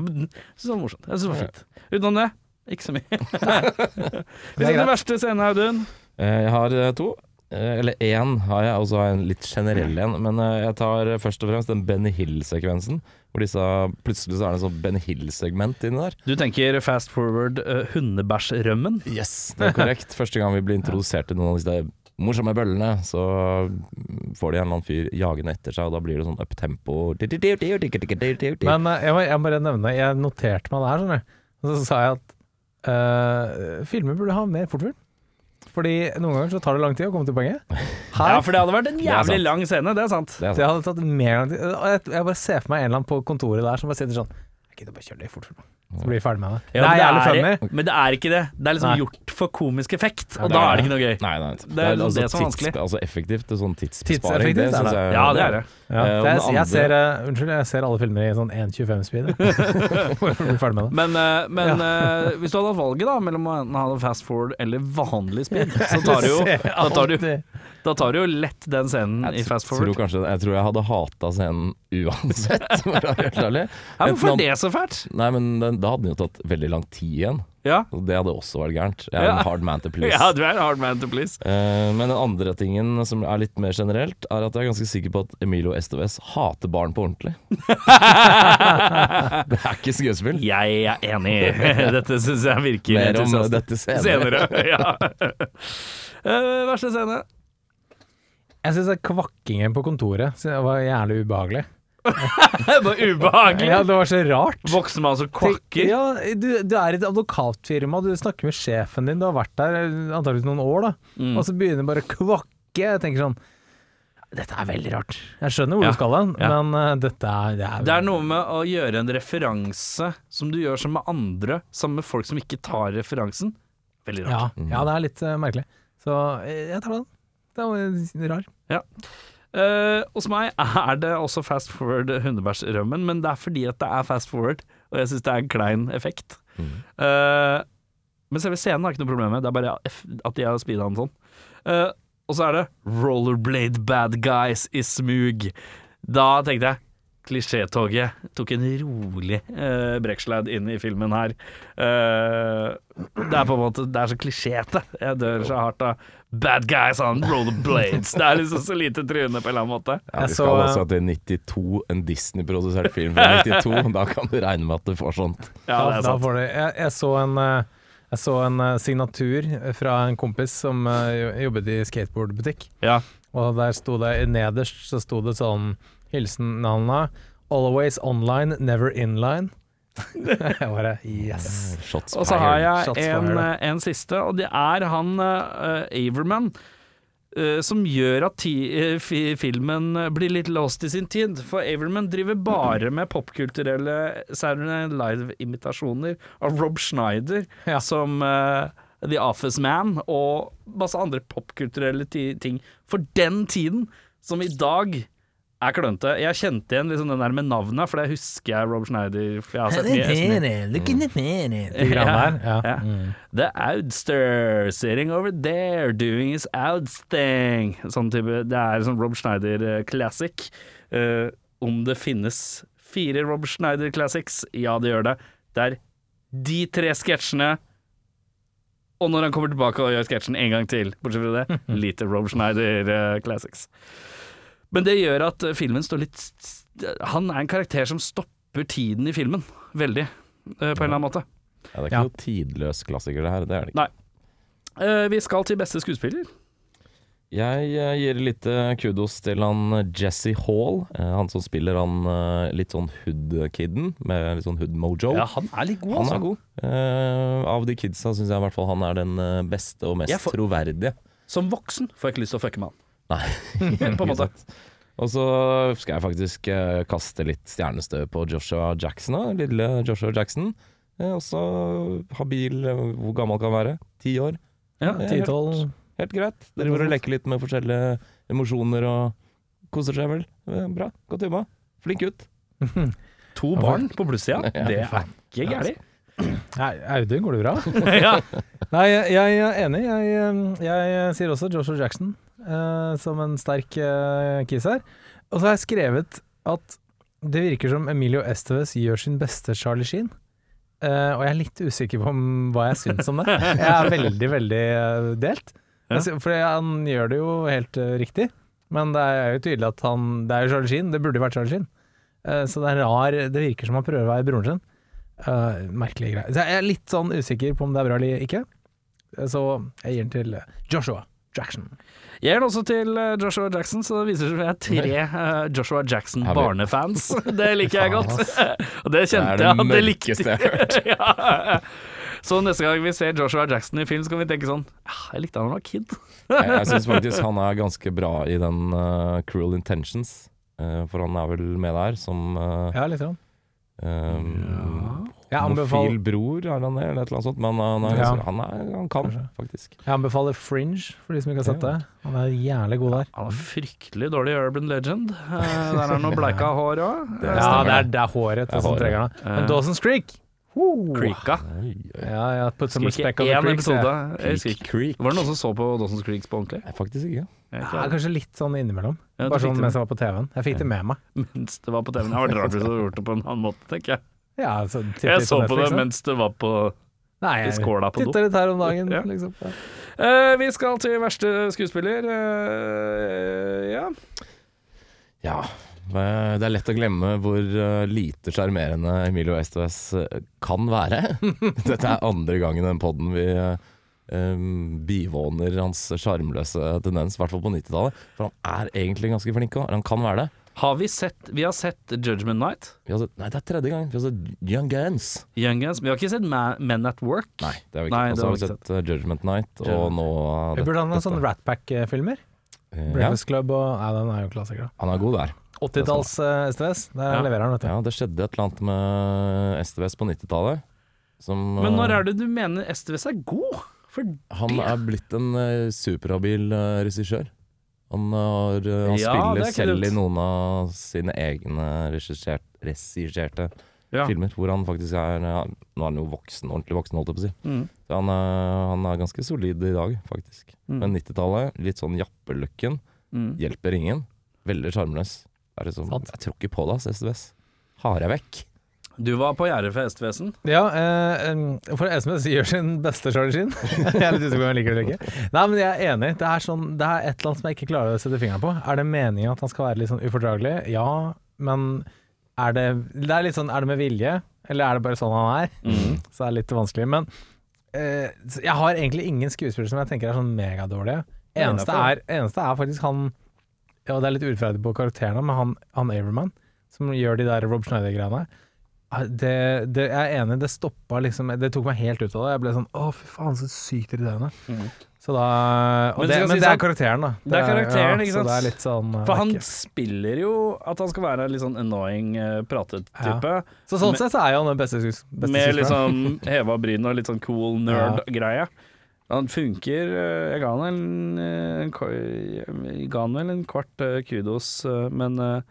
A: så morsomt. Jeg syns det var fint. Utenom det, ikke så mye. Hvis den verste scenen, Audun
C: Eh, Jeg har eh, to. Eh, Eller én har jeg, og så har jeg en litt generell en. Men eh, jeg tar eh, først og fremst den Benny Hill-sekvensen. Hvor disse, plutselig så er det en sånn Benny Hill-segment inni der.
A: Du tenker fast forward uh, hundebæsjrømmen?
C: Yes, det er korrekt. Første gang vi blir introdusert til noen av disse morsomme bøllene, så mm, får de en eller annen fyr jagende etter seg, og da blir det sånn uptempo
B: Men eh, jeg må, jeg må bare nevne, jeg noterte meg det her, skjønner du. Og så sa jeg at eh, filmer burde ha mer fortfilm. Fordi noen ganger så tar det lang tid å komme til poenget. Her,
A: Ja, for det hadde vært en
C: er
A: jævlig
C: sant.
A: lang scene, det er sant.
C: Det er sånn.
B: det hadde
C: sant.
B: tatt mer lang tid. Og jeg, jeg bare ser for meg en eller annen på kontoret der som bare sitter sånn Jeg gidder bare kjøre det i fortfilm, da. så blir vi ferdig med det.
A: Ja,
B: det
A: men
B: er jævlig
A: det
B: funny.
A: er- Men det er ikke det. Det er liksom
B: Nei.
A: gjort for komisk effekt, og
C: det
A: da
C: er
A: er det ikke noe gøy.
C: Nei, nei. Det er,
A: liksom
C: altså,
A: det som er
C: tids-
A: vanskelig.
C: Altså effektivt, det er sånn tidsbesparing.
B: Tidseffektivt,
C: Det
B: er
C: syns
B: det.
C: jeg
A: Ja, det er det.
B: Ja,
C: Eh, og
B: jeg,
C: den
B: jeg,
C: andre-
B: ser, eh, unnskyld, jeg ser alle filmer i sånn 1.25-speed. Blir ferdig med det.
A: Men, eh, men eh, hvis du hadde hatt valget da mellom å enten ha det fast forward eller vanlig speed, så tar du jo, da tar du,
B: Alltid.
A: da tar du jo lett den scenen i
C: Jeg
A: fast
C: tror
A: forward.
C: kanskje Jeg tror jeg hadde hata scenen uansett, for å være helt ærlig.
A: Ja, hvorfor
C: Enten
A: er det så fælt?
C: han- Nei, men den, da hadde den jo tatt veldig lang tid igjen.
A: Ja,
C: Og Det hadde også vært gærent. Jeg er
A: Ja.
C: en hard man to please.
A: ja du er hard man to please.
C: Eh, Men den andre tingen som er litt mer generelt, er at jeg er ganske sikker på at Emilio Estevez hater barn på ordentlig. det er ikke skuespill.
A: Jeg er enig. Dette syns jeg virker
C: Mer om
A: entusiastisk.
C: dette senere.
A: senere. ja. Eh, verste scene.
B: Jeg syns kvakkingen på kontoret så det var jævlig ubehagelig.
A: Det er bare ubehagelig.
B: Ja, det var så rart.
A: Voksen mann som kvakker.
B: Ja, du, du er i et advokatfirma, du snakker med sjefen din, du har vært der eh, antageligvis noen år, da.
A: Mm.
B: Og så begynner det bare å kvakke. Jeg tenker sånn Dette er veldig rart. Jeg skjønner hvor
A: Ja,
B: du skal hen,
A: ja.
B: men eh, dette er, det er,
A: Det er noe med å gjøre en referanse som du gjør som med andre, sammen med folk som ikke tar referansen. Veldig
B: ja,
A: rart.
B: ja, det er litt eh, merkelig. Så eh, jeg tar den. Det er jo rar.
A: Eh, hos meg er det også fast forward hundebæsjrømmen, men det er fordi at det er fast forward, og jeg syns det er en klein effekt. Eh, Men selve scenen har jeg ikke noe problem med, det er bare F- at de har speeda den sånn. Eh, og så er det 'Rollerblade bad guys i smug'. Da tenkte jeg Klisjétoget tok en rolig uh, brekkslide inn i filmen her. Eh, det er på en måte Det er så klisjéete. Jeg dør så hardt av bad guys on rollerblades. Det er liksom så lite tryne på en eller annen måte.
C: Ja,
B: Jeg
C: vi
B: så-
C: skal altså til 92, en Disney-produsert film fra 92. Da kan du regne med at du får sånt.
B: da,
A: Ja, det
B: da
A: er sant.
B: får du jeg, jeg så en eh, jeg så en eh, signatur fra en kompis som eh, jo- jobbet i skateboardbutikk.
A: Ja.
B: Og der sto det nederst så sto det sånn Hilsen Nanna. Always online, never inline. jeg bare yes.
C: Shots
A: Og så har
C: fired.
A: jeg
B: Shots
A: en, eh,
B: fired.
A: en siste, og det er han eh, Averman. eh, som gjør at ti, eh, fi, filmen blir litt lost i sin tid. For Averman driver bare med popkulturelle Saturday Night Live-imitasjoner av Rob Schneider
B: Ja.
A: som eh, The Office Man og masse andre popkulturelle ti ting for den tiden, som i dag er klønete. Jeg kjente igjen liksom den der med navnet, for det husker jeg Rob Schneider. For jeg har sett mye SNL.
B: De greiene der. Ja.
A: Ja. The Oudster sitting over there doing his Ouds thing. Sånn type, det er sånn Rob Schneider-classic. Eh, om det finnes fire Rob Schneider-classics, ja, det gjør det. Det er de tre sketsjene, og når han kommer tilbake og gjør sketsjen en gang til. Bortsett fra det, lite Rob Schneider-classics. Men det gjør at eh, filmen står litt s- s- Han er en karakter som stopper tiden i filmen, veldig, eh, på en eller annen måte.
C: Ja, det er ikke
B: Ja.
C: noe tidløs klassiker, det her. Det er det ikke.
A: Nei. Eh, vi skal til beste skuespiller.
C: Jeg eh, gir litt eh, kudos til han eh, Jesse Hall. eh, Han som spiller han eh, litt sånn hood-kiden med litt sånn hood-mojo.
A: han er litt god, altså.
C: Han er god. Eh, av de kidsa syns jeg i hvert fall han er den eh, beste og mest
A: Jeg får-
C: troverdige.
A: Som voksen får jeg ikke lyst til å fucke med han.
C: Nei,
A: På en måte.
C: Og så skal jeg faktisk eh, kaste litt stjernestøv på Joshua Jackson, da. lille Joshua Jackson. Eh, Også habil, eh, hvor gammel kan han være? Ti år?
A: Ja,
C: Det er
B: 10-12.
C: Helt, helt greit. Driver og leker litt med forskjellige emosjoner og koser seg vel. Eh, Bra. Godt jobba. Flink gutt.
A: To barn på plussida, det er ikke gærent.
B: Nei, Audun, går det bra?
C: altså.
A: ja.
B: Nei, jeg, jeg er enig. Jeg, jeg, sier også Joshua Jackson eh, som en sterk uh, kiss her. Og så har jeg skrevet at det virker som Emilio Estevez gjør sin beste Charlie Sheen. Eh, og jeg er litt usikker på om hva jeg syns om det. Jeg er veldig, veldig eh, delt.
A: Ja.
B: Jeg sy- For han gjør det jo helt eh, riktig, men det er jo tydelig at han Det er jo Charlie Sheen, det burde jo vært Charlie Sheen. Eh, så det er rar Det virker som han prøver å være broren sin. Eh, merkelige greier. Så jeg er litt sånn usikker på om det er bra eller ikke. Så jeg gir den til Joshua Jackson.
A: Jeg gjør det også til eh, Joshua Jackson, så det viser seg at jeg er tre eh, Joshua
C: Har vi-
A: Jackson-barnefans. Det liker jeg godt. Og det
C: Det er
A: kjente
C: det
A: jeg at det likte
C: mørkeste jeg har hørt.
A: ja. Så neste gang vi ser Joshua Jackson i film, så kan vi tenke sånn ah, Jeg likte han da jeg var kid.
C: Jeg, jeg syns faktisk han er ganske bra i den eh, Cruel Intentions. Eh, for han er vel med der som uh,
B: Ja, litt sånn.
C: um,
B: Jeg anbefaler,
C: homofil bror, er han det, eller et eller annet sånt. Men han, er,
B: Ja.
C: han, er, han kan, faktisk.
B: jeg anbefaler Fringe, for de som ikke har sett det. Han er jævlig god der.
A: Han var fryktelig dårlig i Urban Legend. Eh, der er han noe bleika hår òg.
C: Det
B: Ja,
C: stemmer.
B: det er, det er håret til
C: Det er
B: som
C: håret.
B: trenger den. Men Dawson's Creek Woo!
A: Creeka.
C: Oi, oi.
B: Ja, ja, put some
A: Husker
B: respect
A: ikke
B: on the
A: én
B: creek. sier jeg.
A: episode. Jeg husker ikke.
C: Creek.
A: Var det noen som så på Dawson's Creek på ordentlig?
C: Nei, faktisk ikke.
A: Jeg
B: Ja,
A: tror det.
B: kanskje litt sånn innimellom.
A: Ja, du
B: Bare
A: fikk
B: sånn
A: det.
B: mens jeg var på TV-en. Jeg fikk det med meg.
A: Mens det var på TV-en. Det hadde vært rart hvis du hadde gjort det på en annen måte, tenker jeg.
B: Ja, altså, titt
A: Jeg
B: litt
A: så på
B: Netflix,
A: det
B: da.
A: mens det var på
B: Nei, jeg
A: skåla på do.
B: Titter litt her om dagen,
A: Ja.
B: liksom. Ja.
A: Eh, vi skal til verste skuespiller. Eh, ja.
C: Ja. eh, Det er lett å glemme hvor eh, lite sjarmerende Emilio Estevez eh, kan være. Dette er andre gangen i den podden vi eh, em, bivåner hans sjarmløse tendens, i hvert fall på 90-tallet. For han er egentlig ganske flink òg. Han kan være det.
A: Har vi sett Vi har sett Judgment Night.
C: Vi har sett, nei, det er tredje gang. Vi har sett Young Guns.
A: Young Guns. Vi har ikke sett Ma- Men at Work.
C: Nei, det har vi ikke.
A: Nei, det
C: Og så
A: har
C: har
A: vi
C: vi
A: ikke
C: sett eh, Judgment Night, og
A: Judgment.
C: nå eh,
B: Vi
C: det-
B: burde ha noen
C: dette.
B: sånne Ratpack-filmer.
C: Eh, ja,
B: Breakfast Club og Nei, den er jo klassiker, da.
C: han er god der.
B: 80-talls eh, STS. Der
A: Ja.
B: leverer han, vet du.
C: Ja, det skjedde et eller annet med Estevez på 90-tallet.
A: Men når er det du mener STVS er god? For
C: Han er blitt en eh, superhabil eh, regissør. Han, har, eh, han
A: Ja,
C: spiller
A: det er ikke
C: selv
A: dumt.
C: i noen av sine egne regissert, regisserte
A: Ja.
C: filmer hvor han faktisk er ja, Nå er han jo voksen, ordentlig voksen, holdt jeg på å si.
A: Mm.
C: Så han, eh, han er ganske solid i dag, faktisk.
A: Mm.
C: Men 90-tallet, litt sånn jappeløkken,
A: Mm.
C: hjelper ingen. Veldig sjarmløs. Er det sånn,
B: Sant.
C: jeg tror ikke på det, ass, SVS. Har jeg vekk?
A: Du var på gjerdet for hestevesen.
B: Ja, eh, em, for SMS gjør sin beste Charlie Sheen. jeg er litt usikker på om jeg liker det eller ikke. Nei, men jeg er enig. Det er, sånn, det er et eller annet som jeg ikke klarer å sette fingeren på. Er det meningen at han skal være litt sånn ufordragelig? Ja, men er det, det er litt sånn Er det med vilje, eller er det bare sånn han er? Så det er litt vanskelig. Men eh, så jeg har egentlig ingen skuespillere som jeg tenker er sånn megadårlige. Eneste er, eneste er faktisk han Ja, det er litt urettferdig på karakterene, men han, han Averman, som gjør de der Rob Schneider-greiene Ah, det, det, jeg er enig, det stoppa liksom Det tok meg helt ut av det. Jeg ble sånn Å, fy faen, så sykt irriterende. Så da og
A: Mm. Men
B: Men det, men
A: skal
B: det
A: si sånn-
B: er karakteren, da.
A: Det er karakteren, ikke
B: Så
A: sant?
B: det er litt sånn eh,
A: For han
B: ikke-
A: spiller jo at han skal være en litt sånn annoying eh, pratet-type.
B: Så sånn
A: med-
B: sett så er jo han den beste skues- beste
A: Med
B: skuespilleren.
A: liksom heva bryn og litt sånn cool nerd-greie. Han funker. eh, Jeg ga han en, eh, en, ko- jeg ga han vel en kvart eh, kudos, eh, men eh,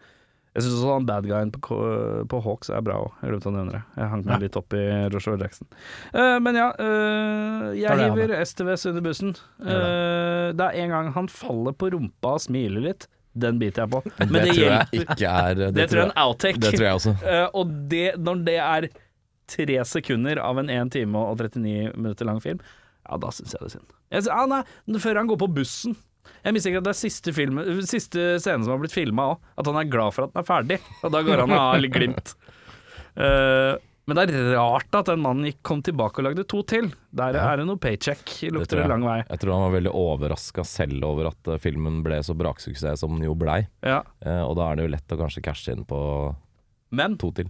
A: jeg syns også han bad guyen på, Ko- på Hawks er bra òg. Jeg glemte å nevne det. Jeg hang meg litt opp i Joshua Jackson. Eh, men ja, eh,
B: Tar
A: jeg
B: det,
A: hiver STVS under bussen. Eh, det er en gang han faller på rumpa og smiler litt. Den biter jeg på. Men det,
C: det, tror
A: hjelper.
C: jeg ikke er Det,
A: Det tror jeg er en outtake.
C: det tror jeg også.
A: Eh, og det, når det er tre sekunder av en 1 time og 39 minutter lang film, ja, da syns jeg det er synd. Jeg, sy- ah, nei, men før han går på bussen. Jeg mistenker at det er siste, film, siste scene som har blitt filma òg. At han er glad for at den er ferdig. Og da går han og har litt glimt. Eh, men det er rart at den mannen gikk, kom tilbake og lagde to til. Der
C: Ja.
A: er det noe paycheck.
C: tror
A: Lukter det
C: jeg.
A: lang vei.
C: Jeg tror han var veldig overraska selv over at eh, filmen ble så braksuksess som den jo blei.
A: Ja.
C: Eh, og da er det jo lett å kanskje cashe inn på
A: Men
C: to til.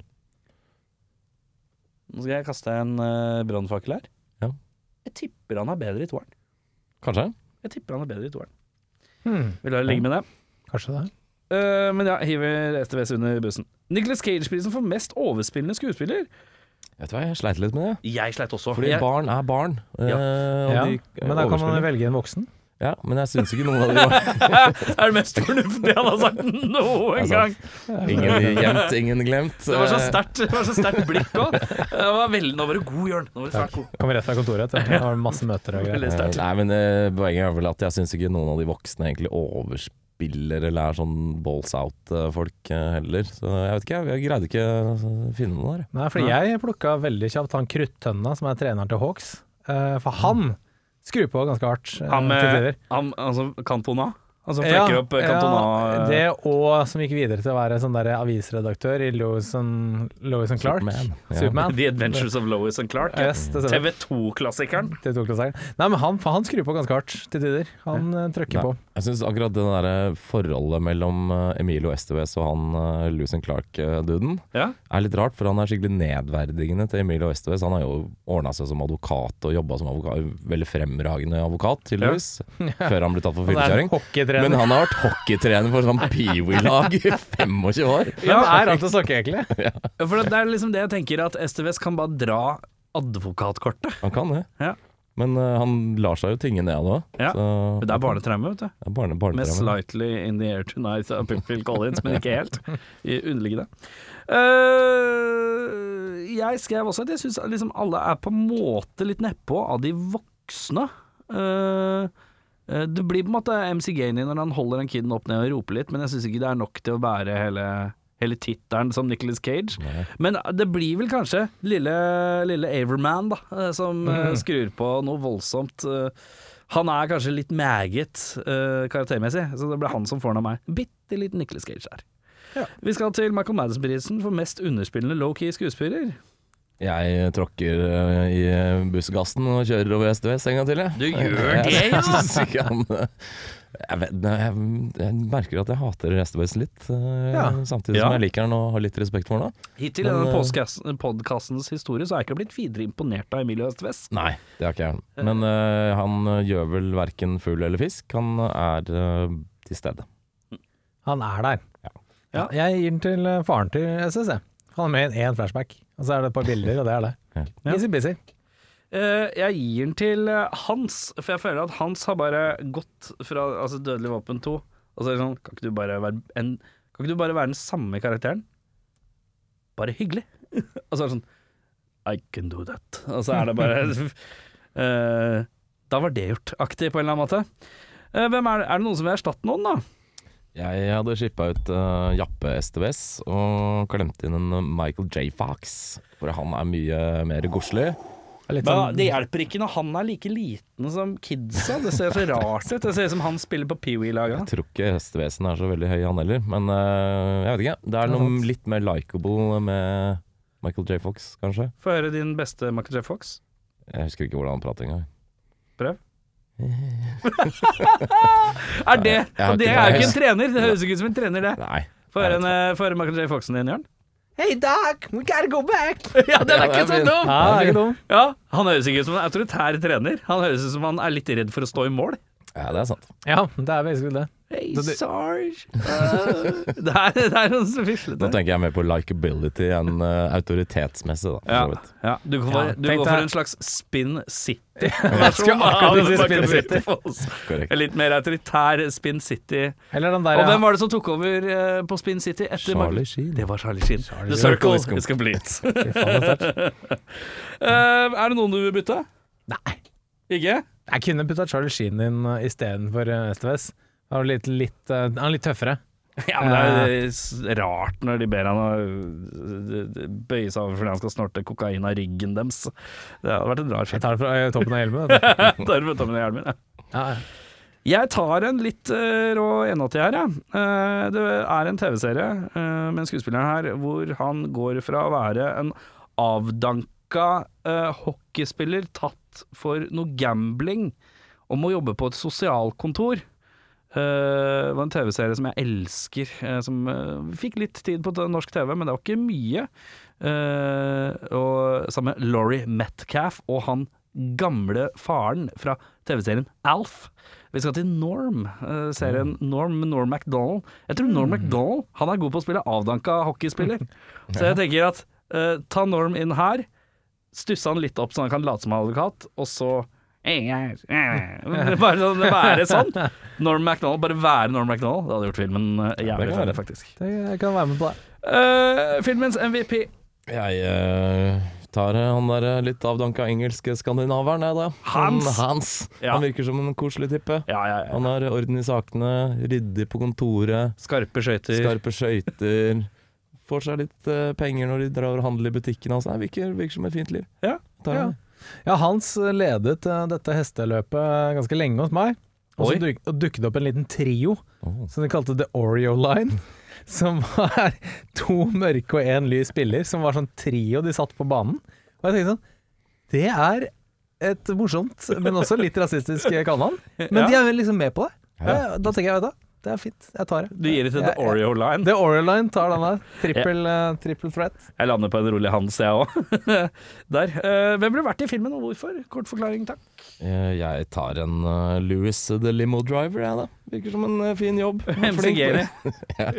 A: nå skal jeg kaste en uh, brannfakkel her.
C: Ja.
A: Jeg tipper han er bedre i toeren.
C: Kanskje?
A: Jeg tipper han er bedre i toeren. sånn-
B: Hmm,
A: Vil dere ligge med det?
B: kanskje det.
A: Eh, men ja, hiver STVS under bussen. Nicholas Cage-prisen for mest overspillende skuespiller.
C: Vet du hva, jeg sleit litt med det.
A: Jeg sleit også.
C: Fordi
A: jeg,
C: barn er barn. eh, og
B: Ja.
C: de,
A: eh,
B: Men da kan man
C: overspiller.
B: velge en voksen.
C: Ja, men jeg syns ikke noen av de var
A: er det mest fornuftige han har sagt
C: Det
A: noen
C: er
A: gang.
C: sant. Ingen gjemt, ingen glemt.
A: Det var så
C: Eh,
A: sterkt det var så sterkt blikk òg. Det var veldig Nå var du god, Jørn. Nå var du svært god.
B: Kommer rett fra kontoret. Det var masse møter og greier.
A: Veldig
C: Eh,
A: sterkt.
C: Nei, men eh, Poenget er vel at jeg syns ikke noen av de voksne egentlig overspiller eller er sånn balls out-folk eh, heller. Så jeg vet ikke, jeg, jeg greide ikke å finne noe der.
B: Nei, fordi jeg plukka veldig kjapt han Kruttønna, som er treneren til Hawks. Eh, for han skrur på ganske hardt. eh,
A: Mm.
B: til
A: Han med
B: tider.
A: han, altså, Cantona? Han som flekker opp eh, Cantona
B: ja, det og som gikk videre til å være sånn der avisredaktør i Lewis and, Lewis and Clark.
C: Superman, ja.
B: Superman.
A: The Adventures of Lois and Clark.
B: Ja, yes, det stemmer.
A: TV2-klassikeren.
B: Det tok det seg. Nei, men han, han skrur på ganske hardt til tider. Han eh, trykker
C: Nei,
B: på.
C: Jeg syns akkurat det der eh, forholdet mellom eh, Emilio Estevez og han eh, Lucien Clark-duden
A: Ja.
C: er litt rart, for han er skikkelig nedverdigende til Emilio Estevez. Han har jo ordna seg som advokat og jobba som advokat, veldig fremragende advokat, tydeligvis, før han ble tatt for
B: Han er en
C: fyllekjøring. Men
B: hockeytrener.
C: han har vært hockeytrener for sånn peewee-lag i 25 år.
B: Hvem er han til å snakke, egentlig?
A: Ja, For det er liksom det jeg tenker, at STVS kan bare dra advokatkortet.
C: Han kan det.
A: Ja.
C: Men eh, han lar seg jo tynge ned av det òg.
A: Ja, Men det er barnetraume, vet du.
C: barne,
A: Med
C: barnetraume.
A: slightly in the air tonight av Phil Collins, men ikke helt. I underliggende. Eh, jeg skrev også at jeg syns liksom alle er på en måte litt nedpå av de voksne. Eh, eh, det blir på en måte MC Gainey når han holder den kiden opp ned og roper litt, men jeg syns ikke det er nok til å bære hele, hele tittelen som Nicholas Cage. Men eh, det blir vel kanskje lille, lille Averman, da, eh, som eh, skrur på noe voldsomt. eh, han er kanskje litt meget eh, karaktermessig, så det ble han som får den av meg. Bitte liten Nicholas Cage der. Vi skal til Michael Madison-prisen for mest underspillende low-key skuespiller.
C: Jeg tråkker eh, i bussgassen og kjører over SDVS en gang til, jeg.
A: Du gjør det,
C: Jeg synes ikke han eh, jeg, vet, nei, jeg, jeg merker at jeg hater SDVS litt, eh,
B: Ja.
C: samtidig
A: Ja.
C: som jeg liker han og har litt respekt for han. da.
A: Hittil i
C: Men, eh,
A: denne podkastens historie så har jeg ikke blitt videre imponert av Emilio Østves.
C: Nei, det har ikke jeg. Men eh, han eh, gjør vel verken fugl eller fisk. Han er eh, til stede.
B: Han er der.
A: Ja.
B: Ja, jeg gir den til eh, faren til SSC. Han er med i én flashback, og så er det et par bilder, og det er det.
A: Ja.
B: Easy-busy.
A: Eh, jeg gir den til eh, Hans, for jeg føler at Hans har bare gått fra altså, Dødelig våpen 2. Og så er det sånn, kan ikke du bare være, en, kan ikke du bare være den samme karakteren? Bare hyggelig. Og så er det sånn I can do that. Og så er det bare eh, Da var det gjort, aktig på en eller annen måte. Eh, hvem er, det, er det noen som vil erstatte noen, da?
C: Jeg hadde shippa ut eh, Jappe STVS og klemte inn en Michael J. Fox. For han er mye mer godslig.
B: Det er litt
A: Men
B: sånn-
A: det hjelper ikke når han er like liten som kidsa. Det ser så rart ut. Det ser ut som han spiller på
C: Jeg
A: Peewee-laget.
C: tror ikke hestevesen er så veldig høy, han heller. Men eh, jeg vet ikke. Det er noe litt mer likeable med Michael J. Fox, kanskje.
A: Få høre din beste Michael J. Fox.
C: Jeg husker ikke hvordan han prater engang.
A: Prøv. er det
C: jeg har
A: Det
C: ikke
A: er jo ikke en
C: peis.
A: trener. Det høres ikke ut som en trener, det.
C: Nei.
A: Få høre en, eh, få høre Michael J. Foxen din, Jørn.
B: Hey Doc, we gotta go back!
A: Ja, den er ikke så dum!
B: Ja, det er ikke dum.
A: Ja, han høres ikke ut som en autoritær trener. Han høres ut som han er litt redd for å stå i mål.
C: Ja, det er sant.
B: Ja, det er basically det.
A: Hey,
B: Så det-
A: Sarge! Uh, det, er, det er noen
C: Nå
A: som fislete.
C: tenker jeg mer på likeability enn eh, autoritetsmessig, da. For
A: Ja,
C: så vidt.
A: ja, du går
B: Ja,
A: for, du
B: tenk
A: går
B: deg-
A: for en slags Spin
B: skulle
A: City-versjon
B: akkurat
A: av
B: si
A: Michael
B: Spin
A: J. Fox.
C: Korrekt.
A: En litt mer autoritær Spin City.
B: Eller den
A: Og
B: der
A: hvem var det som tok over eh, på Spin City etter
C: Charlie
A: Michael-
C: Sheen.
A: Det var Charlie Sheen. The
B: Sheen.
A: Circle
C: Circle
A: is
C: is
A: complete.
B: Fy faen, det er sterkt.
A: Eh, er det noen du vil bytte?
B: Nei.
A: Ikke?
B: Jeg kunne putta Charlie Sheen inn uh, istedenfor Esteves. Han er litt, litt, uh, han er litt tøffere.
A: Ja, men det er s- rart når de ber han å øh, d- d- bøye seg over fordi han skal snorte kokain av ryggen deres. Det hadde vært en rar
B: Jeg
A: film.
B: tar det fra uh, toppen av hjelmen. vet du.
A: Da har du fått av meg hjelmen, ja.
B: Ja, ja.
A: Jeg tar en litt eh, rå 81 her, jeg. Eh, Det er en TV-serie eh, med en skuespiller her hvor han går fra å være en avdanka eh, hockeyspiller tatt for noe gambling om å jobbe på et sosialkontor. Eh, Det var en TV-serie som jeg elsker, eh, som eh, fikk litt tid på t- norsk TV, men det var ikke mye. Eh, og sammen med Laurie Metcalf og han gamle faren fra TV-serien Alf. Vi skal til Norm, eh, serien Norm med Norm MacDonald. Jeg tror Norm MacDonald han er god på å spille avdanka hockeyspiller. Så jeg tenker at eh, ta Norm inn her, stusse han litt opp så han kan late som han er advokat, og så eh, bare sånn, være sånn. Norm MacDonald, bare være Norm MacDonald. Det hadde gjort filmen eh, jævlig
C: kan
A: ferdig,
C: være.
A: faktisk.
B: Det jeg kan være med på det.
A: Eh, filmens MVP.
C: Jeg eh, tar eh, han der eh, litt avdanka engelske skandinaveren, jeg, da.
A: Hans.
C: Han, Hans.
A: Ja.
C: han virker som en koselig type.
A: Ja, ja, ja.
C: Han har orden i sakene, ryddig på kontoret,
A: Skarpe skøyter.
C: skarpe skøyter. Får seg litt eh, penger når de drar og handler i butikken hans. Nei, virker, virker som et fint liv.
A: Ja,
C: Tar
B: Ja.
C: han.
B: Ja, Hans ledet eh, dette hesteløpet eh, ganske lenge hos meg. Og
A: Oi.
B: så duk, og dukket det opp en liten trio
C: Åh.
B: som de kalte The Oreo Line. Som var to mørke og én lys spiller, som var sånn trio de satt på banen. Og jeg tenkte sånn Det er et morsomt, men også litt rasistisk eh, kallenavn. Men
A: Ja.
B: de er vel liksom med på det.
C: Ja.
B: Eh, Da tenker jeg, vet du, hva, det er fint. Jeg tar det.
A: Du gir det til
B: Jeg-
A: The Oreo Line.
B: The Oreo Line tar den der. Trippel, eh, trippel threat.
A: Jeg lander på en rolig Hans, jeg òg. Der. Eh, hvem ville vært i filmen, og hvorfor? Kort forklaring, takk.
C: Eh, Jeg tar en eh, Louis the Limo Driver, jeg, da. Virker som en eh, fin jobb. Flink.
A: MCG-enig.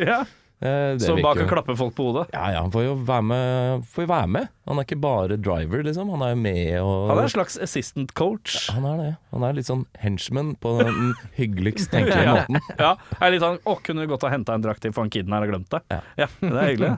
A: ja.
C: Eh, det
A: Som bak
C: virker
A: og
C: jo-
A: klapper folk på hodet.
C: Ja, ja, han får jo være med. Får jo være med. Han er ikke bare driver, liksom. Han er jo med og
A: Han er en slags assistant coach.
C: Han er det. Han er litt sånn henchman på den hyggeligst tenkelige
A: Ja.
C: måten.
A: Ja, er litt sånn 'Å, kunne du godt ha henta en drakt til, for han kiden her har glemt det'. Ja,
C: Ja.
A: Det er hyggelig.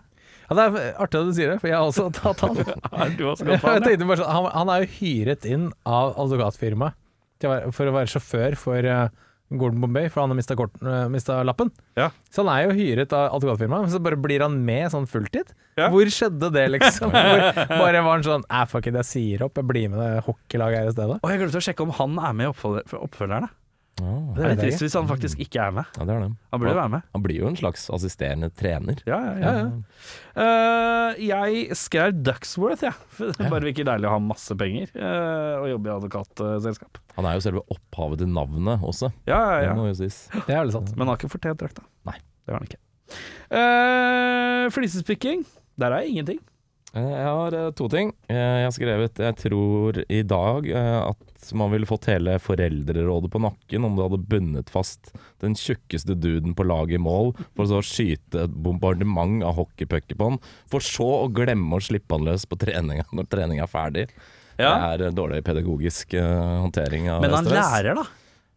B: Ja, det er artig at du sier det, for jeg har også tatt han.
A: Ja, du også
B: Ja,
A: godt ha
B: jeg
A: den, ja.
B: tenkte bare sånn, han, han er jo hyret inn av advokatfirmaet til å være- for å være sjåfør for eh, Gordon Bombay, for han har mista, kort, eh, mistet lappen.
A: Ja.
B: Så han er jo hyret av advokatfirmaet, men så bare blir han med sånn fulltid.
A: Ja.
B: Hvor skjedde det, liksom? Hvor bare var han sånn Æ, fuck it, jeg sier opp, jeg blir med det hockeylaget her i stedet.
A: Og jeg glemte å sjekke om han er med i oppfølger, for oppfølgerne.
C: Ja,
A: Det
B: Er
A: er
B: det
A: litt trist
B: det?
A: hvis han faktisk ikke er med.
C: ja, det er det.
A: Han burde være med.
C: Han blir jo en slags assisterende trener.
A: Ja, ja, ja. ja. Eh, jeg skrev Ducksworth, jeg. For det bare virker deilig å ha masse penger eh, og jobbe i advokatselskap.
C: Han er jo selve opphavet til navnet også,
A: Ja, ja,
C: det
A: ja.
C: må jo sies.
B: Det er sånn. veldig sant.
A: Men han har ikke fortjent drakta.
C: Nei.
A: Det har han ikke. Eh, flisespikking. Der er ingenting.
C: Eh, Jeg har eh, to ting. Eh, Jeg har skrevet Jeg tror i dag eh, at man ville fått hele foreldrerådet på nakken om du hadde bundet fast den tjukkeste duden på laget i mål, for så å skyte et bombardement av hockeypucker på han, for så å glemme å slippe han løs på treninga når treninga er ferdig. Det er eh, dårlig pedagogisk eh, håndtering av
A: Men han
C: stress.
A: lærer, da.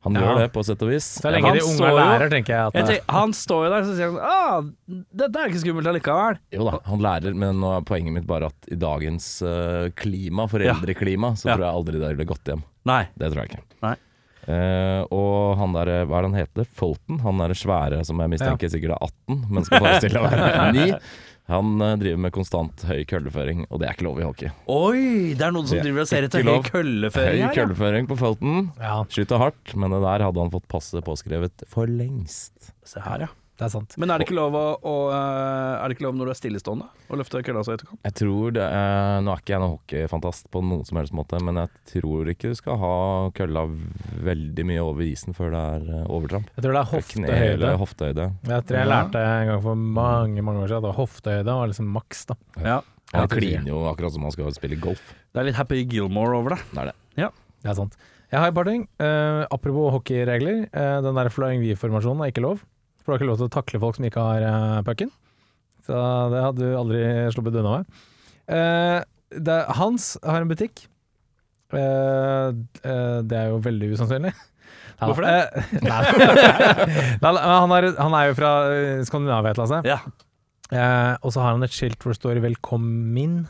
C: Han
B: Ja.
C: gjør det, på sett og vis.
B: Så lenge
A: han
B: de unge
A: står jo-
B: lærer, tenker jeg. At
A: Jeg
B: det,
A: tenker, han står jo der og sier han, ah, dette er ikke skummelt allikevel.
C: Jo da, han lærer, men nå er poenget mitt bare at i dagens eh, klima, foreldreklima, så
A: Ja.
C: tror jeg aldri det ville gått hjem.
A: Nei.
C: Det tror jeg ikke.
A: Nei.
C: Eh, og han der, hva er det han heter? Fulton? Han er svære som jeg mistenker sikkert er 18, men skal forestille å være 9. Han eh, driver med konstant høy kølleføring, og det er ikke lov i hockey.
E: Oi, det er noen som
C: Det er
E: driver og ser etter
C: ikke
E: høy
C: lov. Høy
E: kølleføring her. ja.
C: kølleføring på Fulton.
B: ja,
C: Skyter hardt, men det der hadde han fått passet påskrevet for lengst.
A: Se her, ja.
B: det er sant.
A: Men er det ikke lov, å, å, eh, er det ikke lov når du er stillestående å løfte kølla så etterkant?
C: Jeg tror det er, Nå er ikke jeg noen hockeyfantast på noen som helst måte, men jeg tror ikke du skal ha kølla veldig mye over isen før det er eh, overtramp.
B: Jeg tror det er
C: Kne
B: hoftehøyde.
C: eller hoftehøyde.
B: Jeg tror jeg
A: Ja.
B: lærte en gang for mange mange år siden at hoftehøyde var liksom maks. da
A: Ja.
C: Han
B: Jeg tror ikke.
C: kliner jo akkurat som han skal spille golf.
A: Det er litt Happy Gilmore over det.
C: Det er det.
B: Det er sant. Jeg har et par ting. Eh, apropos hockeyregler. eh, den der flying V-formasjonen er ikke lov. For du har ikke lov til å takle folk som ikke har uh, pucken. Så det hadde du aldri sluppet unna med. Eh, det er, Hans har en butikk. Eh, eh, det er jo veldig usannsynlig.
A: Hvorfor
B: det? nei, Nei, nei, han, er, han er jo fra eh, Skandinavia et eller annet sted.
A: Ja.
B: Eh, og så har han et skilt hvor det står 'Velkommen'.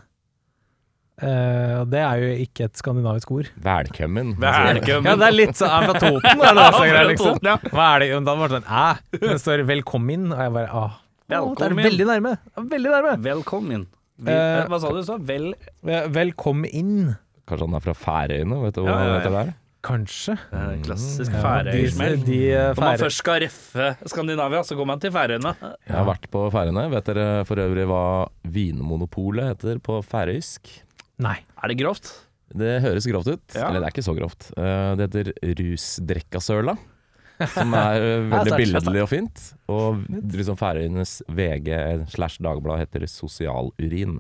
B: Eh, og det er jo ikke et skandinavisk ord.
C: Velkommen.
B: Ja, det er litt sånn Er han fra Toten? Er det også greit,
A: Ja, fra
B: liksom?
A: Toten, ja.
B: Hva er det? Da var det sånn Æ? Men det står 'velkommen', og jeg bare ah. Å, Det er
A: Velkommen.
B: veldig nærme. Det er Veldig nærme.
A: Velkommen. Vi,
B: Eh,
A: eh, hva sa du? Så? Vel,
B: Eh, Velkom inn,
C: Kanskje han er fra Færøyene? Vet du hva
A: Ja, ja, ja.
C: det er?
B: kanskje.
A: Eh, klassisk
B: Ja,
A: færøysmell.
B: de- de, eh,
A: Når man
B: fære-
A: først skal reffe Skandinavia, så går man til Færøyene.
C: Jeg har vært på Færøyene. Vet dere for øvrig hva Vinmonopolet heter på færøysk?
B: Nei.
A: Er det grovt?
C: Det høres grovt ut.
A: Ja.
C: Eller det er ikke så grovt. Eh, Det heter Rusdrekkasøla. Som er
B: Ja,
C: eh, veldig
B: sant,
C: billedlig og fint. Og liksom Færøyenes VG slash dagblad heter Sosialurin.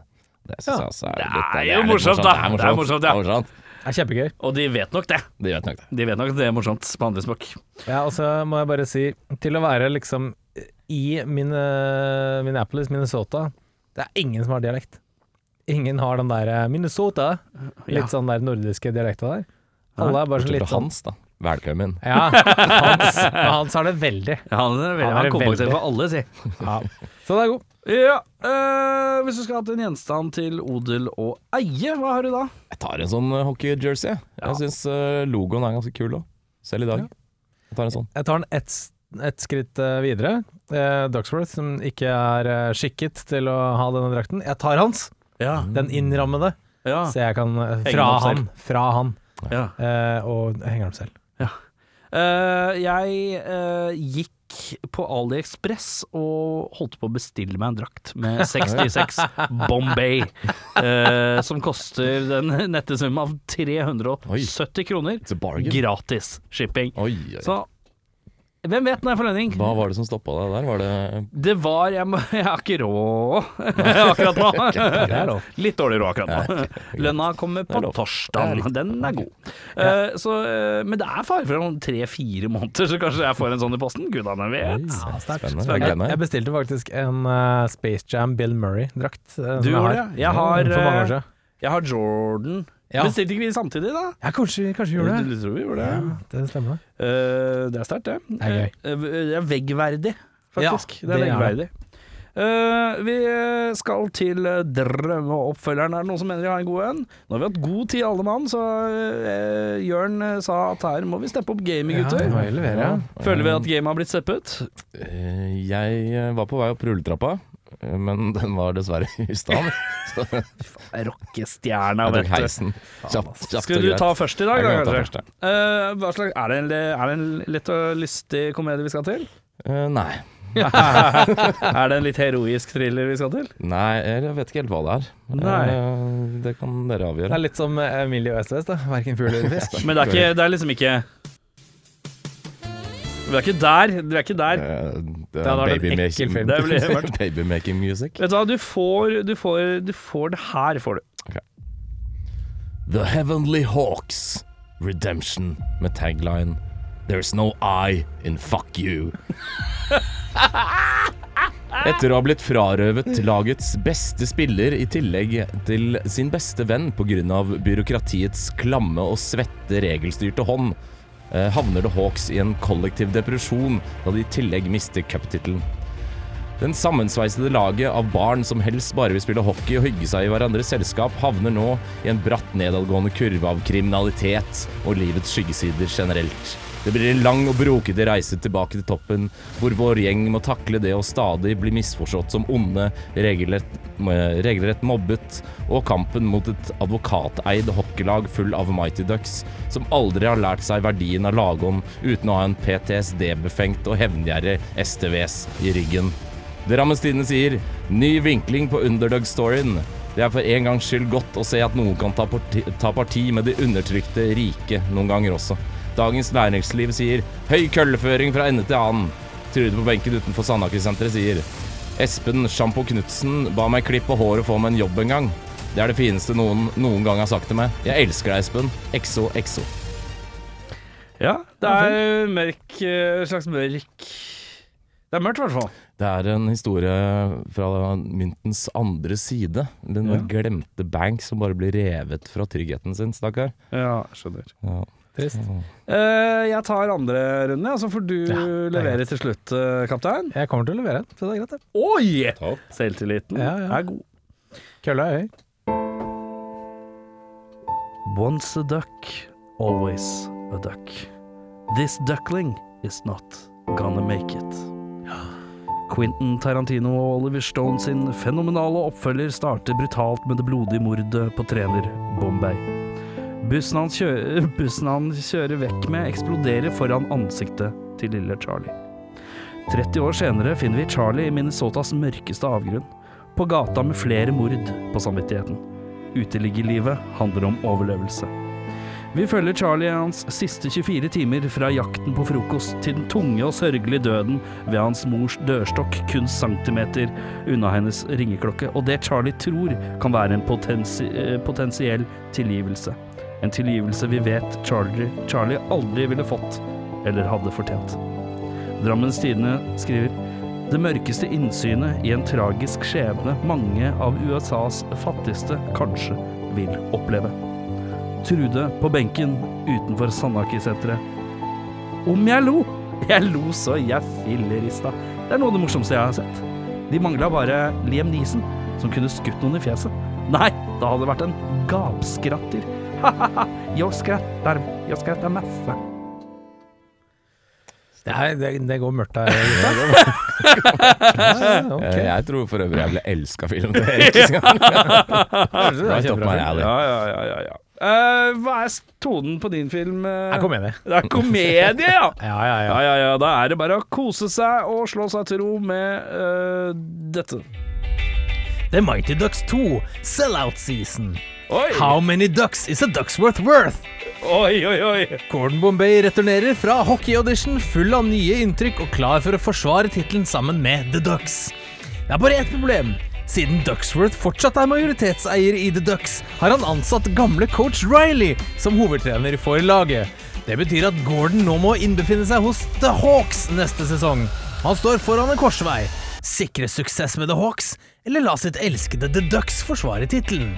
C: Det synes
B: Ja.
C: jeg altså er
A: Det
C: litt-
A: er
C: litt
A: jo morsomt, da. Det er morsomt,
C: Det
A: ja.
C: er morsomt.
B: Det er kjempegøy.
A: Og de vet nok det.
C: Det gjør jeg nok det.
A: De vet nok at det er morsomt på andre språk.
B: Ja, og så må jeg bare si, til å være liksom i mine, Minneapolis, Minnesota Det er ingen som har dialekt. Ingen har den der eh, Minnesota,
A: Ja.
B: litt sånn der nordiske dialekta der. Alle er bare sånn
C: Bortsett
B: litt
C: fra
B: sånn
C: Hans, da. Velkommen.
B: Ja, Hans, Hans har det veldig.
A: Ja, han er veldig,
B: Han er
A: han kompenserer
B: veldig.
A: for alle, si.
B: Ja. Så det er god.
A: Ja, eh, hvis du skulle hatt en gjenstand til odel og eie, hva har du da?
C: Jeg tar en sånn eh, hockey-jersey. jeg. Jeg syns logoen er ganske kul òg, selv i dag. Jeg tar en sånn.
B: Jeg tar den ett s- ett skritt eh, videre. Eh, Duxworth, som ikke er eh, skikket til å ha denne drakten. Jeg tar hans,
A: Ja,
C: Mm.
B: den innrammede,
A: ja,
B: så jeg kan eh,
A: den
B: Fra
A: opp Ah. selv.
B: han. Fra han.
A: ja.
B: Eh, og henger den opp selv.
A: Eh, jeg eh, gikk på AliExpress og holdt på å bestille meg en drakt med 66 Bombay, eh, som koster den nette sum av 370 kroner.
C: It's a bargain.
A: Gratis shipping.
C: Oi, oi, oi.
A: Så hvem vet når jeg får lønning?
C: Hva var det som stoppa deg der? Var det
A: Det var Jeg, må, jeg har ikke råd akkurat nå.
B: Det er lov.
A: Litt dårlig råd akkurat nå. Lønna kommer på
C: er lov.
A: torsdag.
C: Det er riktig.
A: Den er god. Eh, så, eh, men det er fare for om tre-fire måneder, så kanskje jeg får en sånn i posten. Gudene vet.
C: Oi, Spennende.
A: Spennende.
C: Jeg
B: Jeg,
C: gleder meg.
B: jeg bestilte faktisk en eh, Space Jam Bill Murray-drakt. eh, som
A: Du
B: jeg
A: gjorde
B: har.
A: det? Jeg har,
B: For mange år
A: eh,
B: siden.
A: Jeg har Jordan.
B: Ja.
A: Bestilte ikke vi samtidig, da?
B: Ja, kanskje, kanskje vi gjorde det.
A: Du tror vi gjorde det.
B: Ja, det stemmer, det.
A: Eh, det er sterkt, det.
B: Det er gøy.
A: Eh, det er veggverdig, faktisk.
B: Ja,
A: det er
B: det er
A: veggverdig. Eh, vi skal til eh, drømmeoppfølgeren. Er det noen som mener de har en god en? Nå har vi hatt god tid alle mann, så eh, Jørn eh, sa at her må vi steppe opp gamet,
B: Ja,
A: gutter.
B: det må jeg levere.
A: Føler vi at gamet har blitt steppet?
C: Eh, Jeg eh, var på vei opp rulletrappa, eh, men den var dessverre i stand. Så jeg
A: Rockestjerna,
C: tok
A: vet du.
C: heisen kjapt. kjapt
A: Skal
C: og
A: du
C: greit.
A: ta først i dag,
C: Jeg
A: da?
C: kan ta
A: kanskje? Eh, hva slags, er, det en, er det en litt og lystig komedie vi skal til?
C: Eh, Nei.
A: er det en litt heroisk thriller vi skal til?
C: Nei, jeg vet ikke helt hva det er.
A: Nei.
C: Eh, Det kan dere
B: Det
C: avgjøre.
B: er litt som eh, Emilie og SOS, da. Verken fugl eller fisk.
A: Men det er, ikke, det er liksom ikke Vi er ikke der. Vi er ikke der.
C: Eh, Det
B: hadde
C: er
B: vært en
C: baby
B: ekkel film.
C: making-
A: Det ville vært-
C: baby making music.
A: Vet du hva, du får, du får, du får det her, får du.
C: The Heavenly Hawks. Redemption med tagline There's no I in fuck you. Etter å ha blitt frarøvet lagets beste spiller i tillegg til sin beste venn pga. byråkratiets klamme og svette regelstyrte hånd, eh, havner The Hawks i en kollektiv depresjon da de i tillegg mister cuptittelen. Den sammensveisede laget av barn som helst bare vil spille hockey og hygge seg i hverandres selskap, havner nå i en bratt nedadgående kurve av kriminalitet og livets skyggesider generelt. Det blir en lang og brokete reise tilbake til toppen, hvor vår gjeng må takle det å stadig bli misforstått som onde, regelrett, eh, regelrett mobbet, og kampen mot et advokateid hockeylag full av Mighty Ducks, som aldri har lært seg verdien av lagånd uten å ha en PTSD-befengt og hevngjerrig STVs i ryggen. Det Drammens Tidende sier Ny vinkling på underdog-storyen. Det er for en gangs skyld godt å se at noen kan ta parti, ta parti med de undertrykte rike noen ganger også. Dagens Næringsliv sier høy kølleføring fra ende til annen. Trude på benken utenfor Sandaker-senteret sier Espen Sjampo Knutsen ba meg klippe håret og få meg en jobb en gang. Det er det fineste noen noen gang har sagt til meg. Jeg elsker deg, Espen. Exo, exo.
A: Ja, det er mørk eh, slags mørk Det er mørkt, i hvert fall.
C: Det er en historie fra myntens andre side. Den
A: Ja.
C: glemte Bank som bare blir revet fra tryggheten sin, stakkar.
A: Ja, skjønner.
C: Ja.
B: Trist.
A: Eh, jeg tar andre runde, og så får du levere til slutt, eh, kaptein.
B: Jeg kommer til å levere en, så det er greit, det.
A: Oi!
C: Topp.
A: Selvtilliten
B: Ja, ja.
A: er god.
B: Kølla er høy.
A: Once a duck, always a duck. This duckling is not gonna make it. Quentin Tarantino og Oliver Stone sin fenomenale oppfølger starter brutalt med det blodige mordet på trener Bombay. Bussen han, kjø bussen han kjører vekk med, eksploderer foran ansiktet til lille Charlie. 30 år senere finner vi Charlie i Minnesotas mørkeste avgrunn, på gata med flere mord på samvittigheten uteliggerlivet handler om overlevelse. Vi følger Charlie i hans siste 24 timer fra jakten på frokost til den tunge og sørgelige døden ved hans mors dørstokk kun centimeter unna hennes ringeklokke, og det Charlie tror kan være en potensi eh, potensiell tilgivelse. En tilgivelse vi vet Charlie, Charlie aldri ville fått eller hadde fortjent. Drammens Tidende skriver det mørkeste innsynet i en tragisk skjebne mange av USAs fattigste kanskje vil oppleve. Trude på benken utenfor Sandaker-senteret. Om jeg lo! Jeg lo så jeg fillerista. Det er noe av det morsomste jeg har sett. De mangla bare Liam Neeson, som kunne skutt noen i fjeset. Nei, da hadde det vært en gapskratter. Ha-ha-ha, jeg skratter, jeg skratter masse.
B: Det, her, det, det går mørkt her. gutta. ja, ja, ok.
C: Eh, Jeg tror for øvrig jeg ble elska av filmen. Right up my alley.
A: Ja, ja, ja, ja, ja. Eh, hva er tonen på din film? eh?
B: Jeg kom igjen, jeg.
A: Det er komedie, ja!
B: Ja, ja, ja.
A: Ja, ja, ja. Da er det bare å kose seg og slå seg til ro med eh, dette.
B: The Mighty Ducks 2, sell-out season.
A: Oi,
B: How many ducks is a duck's worth worth?
A: oi, oi! oi.
B: Gordon Bombay returnerer fra hockeyaudition full av nye inntrykk og klar for å forsvare tittelen sammen med The Ducks. Det er bare ett problem. Siden Ducksworth fortsatt er majoritetseier i The Ducks, har han ansatt gamle coach Riley som hovedtrener for laget. Det betyr at Gordon nå må innbefinne seg hos The Hawks neste sesong. Han står foran en korsvei. Sikre suksess med The Hawks, eller la sitt elskede The Ducks forsvare tittelen.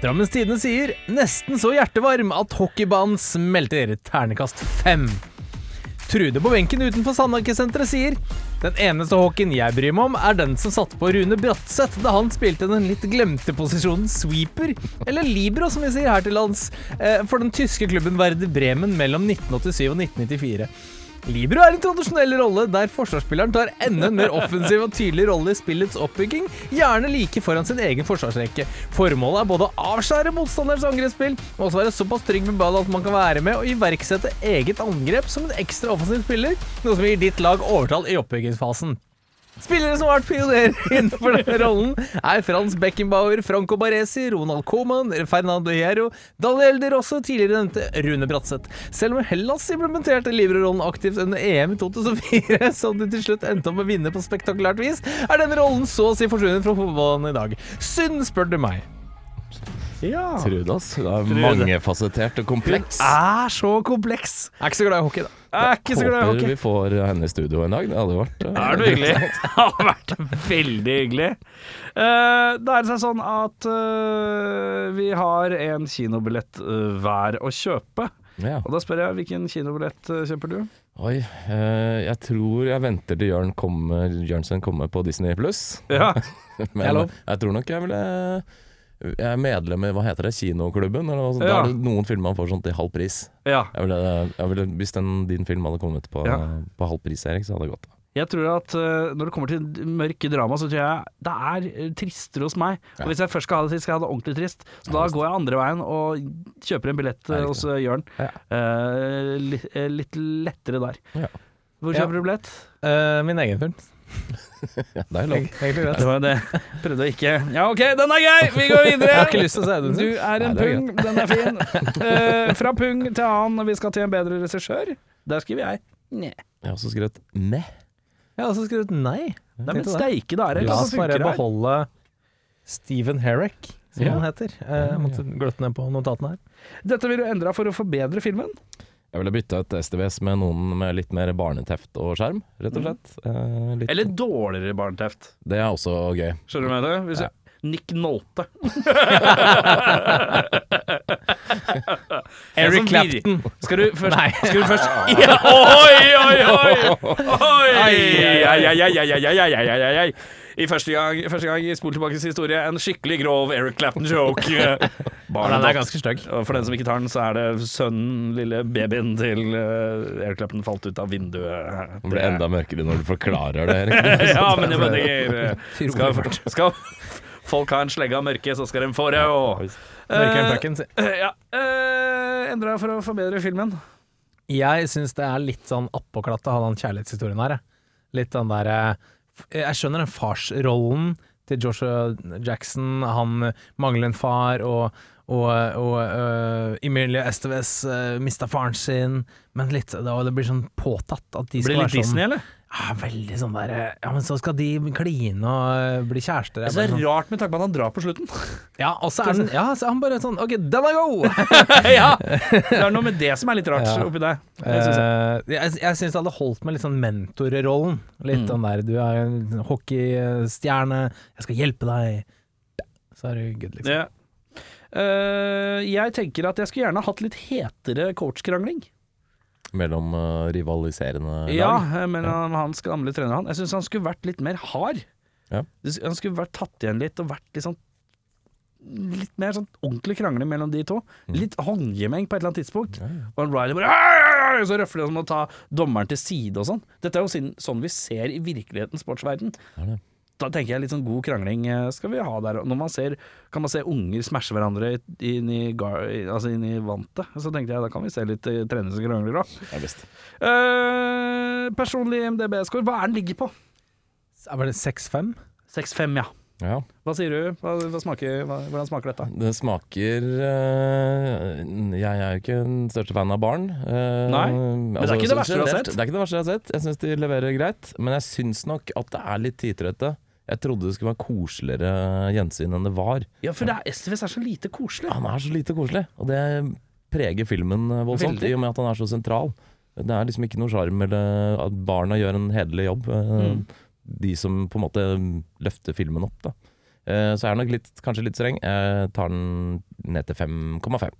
B: Drammens Tidende sier nesten så hjertevarm at hockeybanen smelter. Ternekast fem. Trude på benken utenfor Sandaker-senteret sier den eneste hockeyen jeg bryr meg om, er den som satte på Rune Bratseth da han spilte den litt glemte posisjonen sweeper, eller libero som vi sier her til lands, eh, for den tyske klubben Werder Bremen mellom 1987 og 1994. Libero er en tradisjonell rolle der forsvarsspilleren tar enda en mer offensiv og tydelig rolle i spillets oppbygging, gjerne like foran sin egen forsvarsrekke. Formålet er både å avskjære motstanderens angrepsspill, men også være såpass trygg med ballen at man kan være med og iverksette eget angrep som en ekstra offensiv spiller, noe som gir ditt lag overtall i oppbyggingsfasen. Spillere som har vært pionerer innenfor denne rollen, er Frans Beckenbauer, Franco Baresi, Ronald Coman, Fernando Hierro, Daniel De Rosso, tidligere nevnte Rune Bratseth. Selv om Hellas implementerte Livre-rollen aktivt under EM i 2004, som de til slutt endte opp med å vinne på spektakulært vis, er denne rollen så å si forsvunnet fra fotballen i dag. Synd, spør du meg.
A: Ja.
C: Trude, ass. Det er mangefasettert og kompleks.
A: Er så kompleks.
B: Jeg er ikke så glad i hockey, da.
A: Jeg er ikke så glad i
C: Håper
A: hockey.
C: vi får henne i studio en dag. Det hadde vært eh,
A: Er det hyggelig? Det har vært veldig hyggelig. Eh, det er seg sånn at eh, vi har en kinobillett eh, hver å kjøpe.
C: Ja.
A: Og da spør jeg, hvilken kinobillett eh, kjøper du?
C: Oi, eh, jeg tror jeg venter til Jørn kommer, Jørnsen kommer på Disney pluss.
A: Ja,
C: Men eh,
B: er lov.
C: jeg tror nok jeg ville eh, Jeg er medlem i hva heter det, kinoklubben? Eller noe sånt. Da
A: Ja.
C: er det noen filmer man får sånn til halv pris.
A: ja.
C: Jeg ville, eh, jeg ville, hvis den, din film hadde kommet på,
A: Ja.
C: på halv pris, Erik, så hadde det gått.
A: Jeg tror at eh, når det kommer til mørke drama, så tror jeg det er eh, tristere hos meg. Og hvis jeg først skal ha det trist, skal jeg ha det ordentlig trist. Så da går jeg andre veien og kjøper en billett eh,
C: riktig.
A: hos eh, Jørn.
C: Ja.
A: Eh, li, eh, litt lettere der.
C: Ja.
A: Hvor
B: Ja.
A: kjøper du billett?
B: Eh, min egen film.
C: Ja, det er lov.
B: Eg- Egentlig greit.
A: Det var det. Prøvde å ikke Ja, OK, den er grei! Vi går
B: Jeg har ikke
A: videre!
B: lyst til å si det.
A: Du er
C: Nei,
A: en
C: det er
A: pung, den er fin. Eh, fra pung til annen, vi skal til en bedre regissør. Der skriver jeg. Nei.
C: Jeg har også skrevet meh.
B: Jeg har også skrevet nei.
A: Det er
B: Tenkte
A: min
B: det.
A: steike der,
B: La
A: hva
B: oss
A: som
B: bare
A: funker her.
B: beholde Steven Herrick, som
C: Ja.
B: han heter. Eh, Jeg måtte
A: Mm.
B: gløtte ned på notatene her.
A: Dette vil du endre for å forbedre filmen.
C: Jeg ville bytta ut STVS med noen med litt mer barneteft og skjerm, rett og slett. Eh, litt.
A: Eller dårligere barneteft.
C: Det er også gøy.
A: Skjønner du hva jeg mener? Hvis
C: Ja.
A: jeg- Nick Nolte.
B: Eric
A: Jeg som Altså, vir-
B: Clapton.
A: Skal du først Skal du først ja, Oi, oi, oi! oi. Ai, ai, ai, ai, ai, ai, ai, ai, ai, ai. I første gang, første gang i Spol tilbakes historie, en skikkelig grov Eric Clapton-joke. Barnet
B: Den er
A: datt.
B: ganske stygg.
A: Og for den som ikke tar den, så er det sønnen, lille babyen til eh, Eric Clapton, falt ut av vinduet.
C: Det blir enda mørkere når du forklarer det, Erik.
A: ja, men jeg mener
B: Skal-
A: skal, skal folk ha en slegge av mørke, så skal de få det. Og,
B: Mørkeren Pucken, si.
A: Eh, ja. eh, endra for å forbedre filmen.
B: Eh, Jeg syns det er litt sånn oppåklatta, han den kjærlighetshistorien her. jeg. Litt den derre Jeg skjønner den farsrollen til Joshua Jackson. Han mangler en far, og, og, og øh, Emilie Estevez øh, mista faren sin. Men litt, da, det blir sånn påtatt at de skal
A: Blir det
B: være
A: litt
B: sånn
A: Disney, eller?
B: Ja, veldig sånn der Ja, men så skal de kline og øh, bli kjærester. Jeg
A: Det
B: bare
A: er
B: sånn,
A: Altså, rart med tanke på at han drar på slutten.
B: ja, og så er den Ja, så er han bare sånn OK, den er god!
A: ja, Det er noe med det som er litt rart
B: Ja.
A: oppi deg. Det synes jeg.
B: Eh, jeg jeg syns det hadde holdt med litt sånn mentorrollen. Litt
A: Mm.
B: den der du er en sånn hockeystjerne, jeg skal hjelpe deg. Så er du good, liksom.
A: Ja. Eh, jeg tenker at jeg skulle gjerne hatt litt hetere coachkrangling.
C: Mellom eh, rivaliserende
A: Ja,
C: lag.
A: eh, mellom hans gamle trener og han. Jeg syns han skulle vært litt mer hard.
C: Ja.
A: Han skulle vært tatt igjen litt, og vært litt sånn Litt mer sånn ordentlig krangling mellom de to.
C: Mm.
A: Litt håndgjemeng på et eller annet tidspunkt. Og en Riley bare «Ai, ai, ai», Så røfler de som å ta dommeren til side og sånn. Dette er jo sin, sånn vi ser i virkelighetens sportsverden.
C: Er det?
A: Da tenker jeg litt sånn god krangling eh, skal vi ha der. Og Når man ser, kan man se unger smashe hverandre i- inn i, gar, i- altså inn i vantet, så tenkte jeg da kan vi se litt eh, trenere som krangler òg.
C: Det er best.
A: Eh, personlig MDB-score, hva er den ligger på?
B: Er det 6-5?
A: 6-5, ja.
C: Ja.
A: Hva sier du? Hva, hva smaker, hva, hvordan smaker dette?
C: Det smaker eh, Jeg er jo ikke den største fan av barn. eh,
A: Nei, men det er ikke det
C: sånn
A: verste du har
C: generelt.
A: sett.
C: Det er ikke det verste jeg har sett. Jeg syns de leverer greit, men jeg syns nok at det er litt tidtrøtte. Jeg trodde det skulle være koseligere gjensyn enn det var.
A: Ja, for det er, STVS er så lite koselig.
C: Han er så lite koselig, og det preger filmen eh, voldsomt,
A: Veldig.
C: i og med at han er så sentral. Det er liksom ikke noe sjarm eller at barna gjør en hederlig jobb. eh,
A: Mm.
C: De som på en måte løfter filmen opp, da. Eh, Så jeg er nok litt, kanskje litt streng. Jeg tar den ned til 5,5.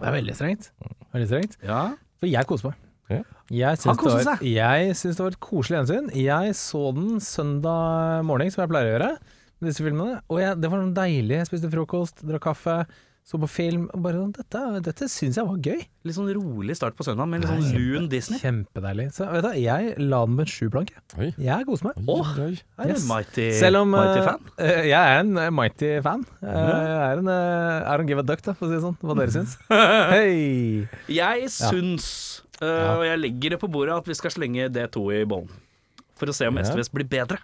B: Det er veldig strengt. Veldig strengt.
A: Ja.
B: For jeg koser meg.
C: Ja.
B: Jeg
A: Han
B: syns det,
A: koser
B: var-
A: seg.
B: jeg syns det var et koselig gjensyn. Jeg så den søndag morgen, som jeg pleier å gjøre, med disse filmene. Og jeg, det var sånn deilig. Jeg spiste frokost, drakk kaffe, så på film. Og bare sånn Dette, dette syns jeg var gøy.
A: Litt sånn rolig start på søndag, med litt sånn lun Disney.
B: Kjempedeilig. Så vet du, hva, jeg la den med en sjuplanke.
C: Oi.
B: Jeg koser meg.
C: Oi.
B: Her, yes.
A: Mighty,
B: Selv om
A: mighty
B: eh,
A: fan.
B: eh, jeg er en eh, mighty fan. Eh, jeg er en eh, I don't give a duck, da, for å si det sånn. Hva dere syns.
A: Eh.
B: Hei!
A: Jeg syns, eh, og jeg legger det på bordet, at vi skal slenge D2 i bollen. For å se om
C: Ja.
A: STVS blir bedre.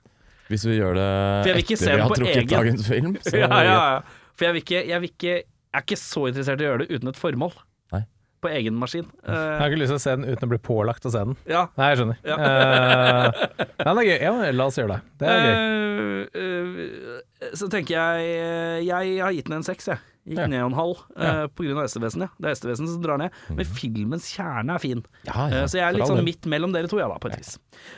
C: Hvis vi gjør det
A: For jeg vil ikke
C: etter
A: se den
C: vi har
A: på
C: trukket
A: egen.
C: dagens film, så
A: Ja, ja, ja. For jeg, vil ikke, jeg, vil ikke, jeg er ikke så interessert i å gjøre det uten et formål.
C: Nei.
A: På egen maskin.
B: Jeg
A: Eh,
B: har ikke lyst til å se den uten å bli pålagt å se den.
A: ja.
B: Nei, jeg skjønner. Eh, nei, det er gøy. Ja, men la oss gjøre det. Det er gøy.
A: Eh, eh, så tenker jeg eh, Jeg har gitt den en seks, jeg. Gikk
C: Ja. Mhm.
A: ned en halv eh, på grunn av hestevesenet. Det er hestevesenet som drar ned. Men filmens kjerne er fin.
C: Ah, Ja,
A: Eh,
C: ja,
A: så jeg er
C: for
A: litt
C: all
A: sånn
C: del.
A: midt mellom dere to, ja da, på et vis.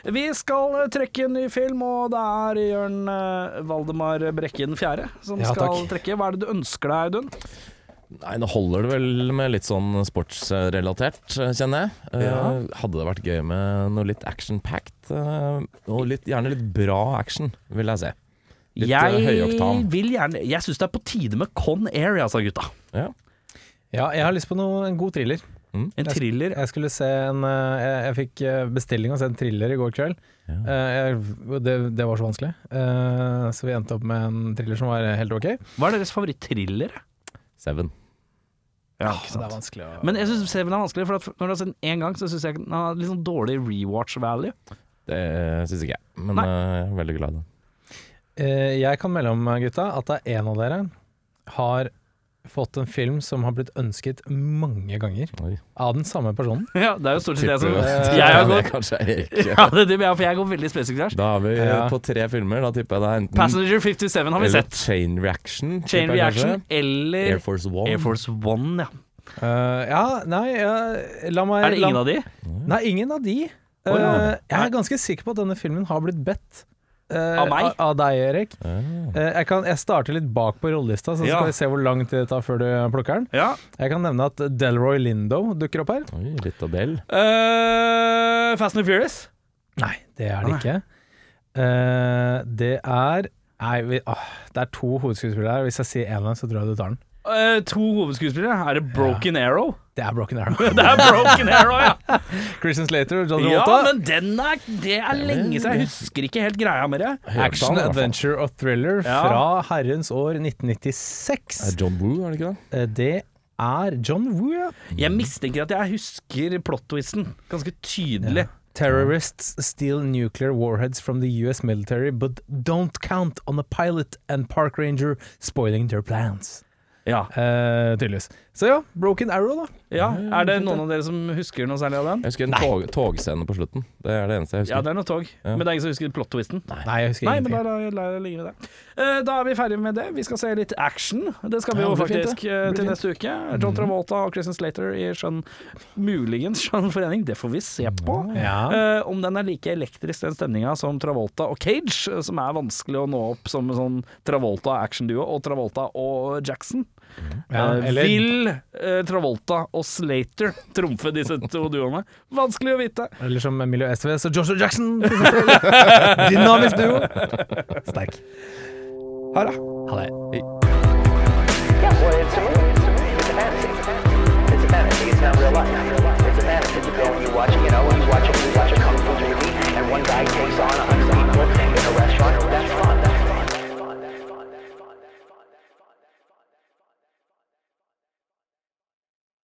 A: Vi skal eh, trekke en ny film, og det er Jørn eh, Valdemar Brekken 4. som
B: Ja,
A: skal
B: takk.
A: trekke. Hva er det du ønsker deg, Audun?
C: Nei, nå holder det vel med litt sånn sportsrelatert, eh, kjenner jeg. Eh,
B: Ja.
C: hadde det vært gøy med noe litt action-packed, eh, og litt, gjerne litt bra action, vil jeg se. Litt eh,
A: Jeg
C: høyoktan.
A: vil gjerne Jeg syns det er på tide med Con Air, jeg, altså, gutta.
C: Ja.
B: Ja, jeg har lyst på noe, en god thriller.
A: En
B: Jeg-
A: thriller.
B: Jeg skulle se en eh, Jeg, jeg fikk eh, bestilling å se en thriller i går kveld. Eh, jeg, det, det var så vanskelig, Eh, så vi endte opp med en thriller som var helt ok.
A: Hva er deres favoritt-thriller?
C: Seven.
A: Ja,
B: Så det er vanskelig å
A: Men jeg syns Seven er vanskelig, for at når du har sett den én gang, så syns jeg den har litt sånn dårlig rewatch value.
C: Det eh, syns ikke jeg, men
A: Nei.
C: eh, jeg er veldig glad i den.
B: Eh, Jeg kan melde om, gutta, at det er en av dere har fått en film som har blitt ønsket mange ganger
C: Oi.
B: av den samme personen.
A: Ja, det er jo stort sett jeg som eh,
C: Tipper du-
A: Jeg har gått
C: Kanskje Erik.
A: ja, det, tipper jeg, for jeg går veldig spesifikt her.
C: Da er vi eh,
B: Ja.
C: på tre filmer, da tipper jeg det er enten
A: Passenger 57 har vi
C: Mm. eller
A: sett.
C: Chain Reaction.
A: Chain
C: tipper jeg kanskje.
A: Reaction eller
C: Air Force One.
A: Air Force One, ja.
B: Eh, ja, nei eh, La meg
A: Er det ingen av de?
B: de? Nei, ingen av de.
A: Å, ja.
B: Eh, jeg er ganske sikker på at denne filmen har blitt bedt eh,
A: Av meg?
B: Av, av deg, Erik.
C: Ah.
B: Eh, jeg, kan, jeg starter litt bak på rollelista, så
A: Ja.
B: skal vi se hvor lang tid det tar før du plukker den.
A: Ja.
B: Jeg kan nevne at Delroy Lindo dukker opp her.
C: Oi, litt Adele.
A: Eh, Fast and Furious.
B: Nei, det er det ikke. Eh, det er Nei, vi, åh, det er to hovedskuespillere her. Hvis jeg sier én av dem, så tror jeg du tar den.
A: Eh, to hovedskuespillere. Er det Broken Arrow?
B: Det er Broken Arrow.
A: Det er Broken Arrow, ja!
B: Christian Slater og John
A: Ja,
B: Travolta.
A: men den er, det er lenge siden. Jeg husker ikke helt greia med det.
C: Høyoktan, i
B: Action,
C: hvert fall.
B: adventure og thriller
A: Ja.
B: fra herrens år 1996.
C: Er Eh, John Woo, er det ikke det?
B: Eh, Det er John Woo, ja.
A: Jeg mistenker at jeg husker plot-twisten ganske tydelig.
B: Terrorists steal nuclear warheads from the US military, but don't count on a pilot and park ranger spoiling their plans.
A: Ja.
B: Eh, tydeligvis. Så ja, Broken Arrow, da.
A: ja. Er det noen av dere som husker noe særlig av den?
C: Jeg husker en tog, togscene på slutten. Det er det eneste jeg
A: Ja,
C: husker.
A: det er noe tog,
C: Ja.
A: men det er ingen som husker plot-twisten.
B: Nei, jeg husker
A: Nei, men
B: ingenting.
A: da lar lar jeg ligge med det. Eh, Da er vi ferdige med det. Vi skal se litt action. Det skal vi
B: Ja,
A: jo
B: det blir fint,
A: faktisk
B: det.
A: eh,
B: Det blir
A: til
B: fint. Mm.
A: neste uke. John Travolta og Christian Slater i skjønn Muligens skjønn forening. Det får vi se på.
B: Ja.
A: Eh, om den er like elektrisk, den stemninga, som Travolta og Cage, eh, som er vanskelig å nå opp som en sånn Travolta-actionduo, og Travolta og Jackson.
B: Ja,
A: Eh,
B: eller-
A: Vil eh, Travolta og Slater trumfe disse to duoene? Vanskelig å vite.
B: Eller som Emilio Estevez og Joshua Jackson. Dynamisk duo. Sterk.
A: Ha det.
B: Ha det.
D: Yeah, well, it's a movie. It's a movie. It's a fantasy. It's a fantasy. It's not real life. It's a fantasy. You go and you watch, you know, you watch, you watch a kung fu movie, and one guy takes on a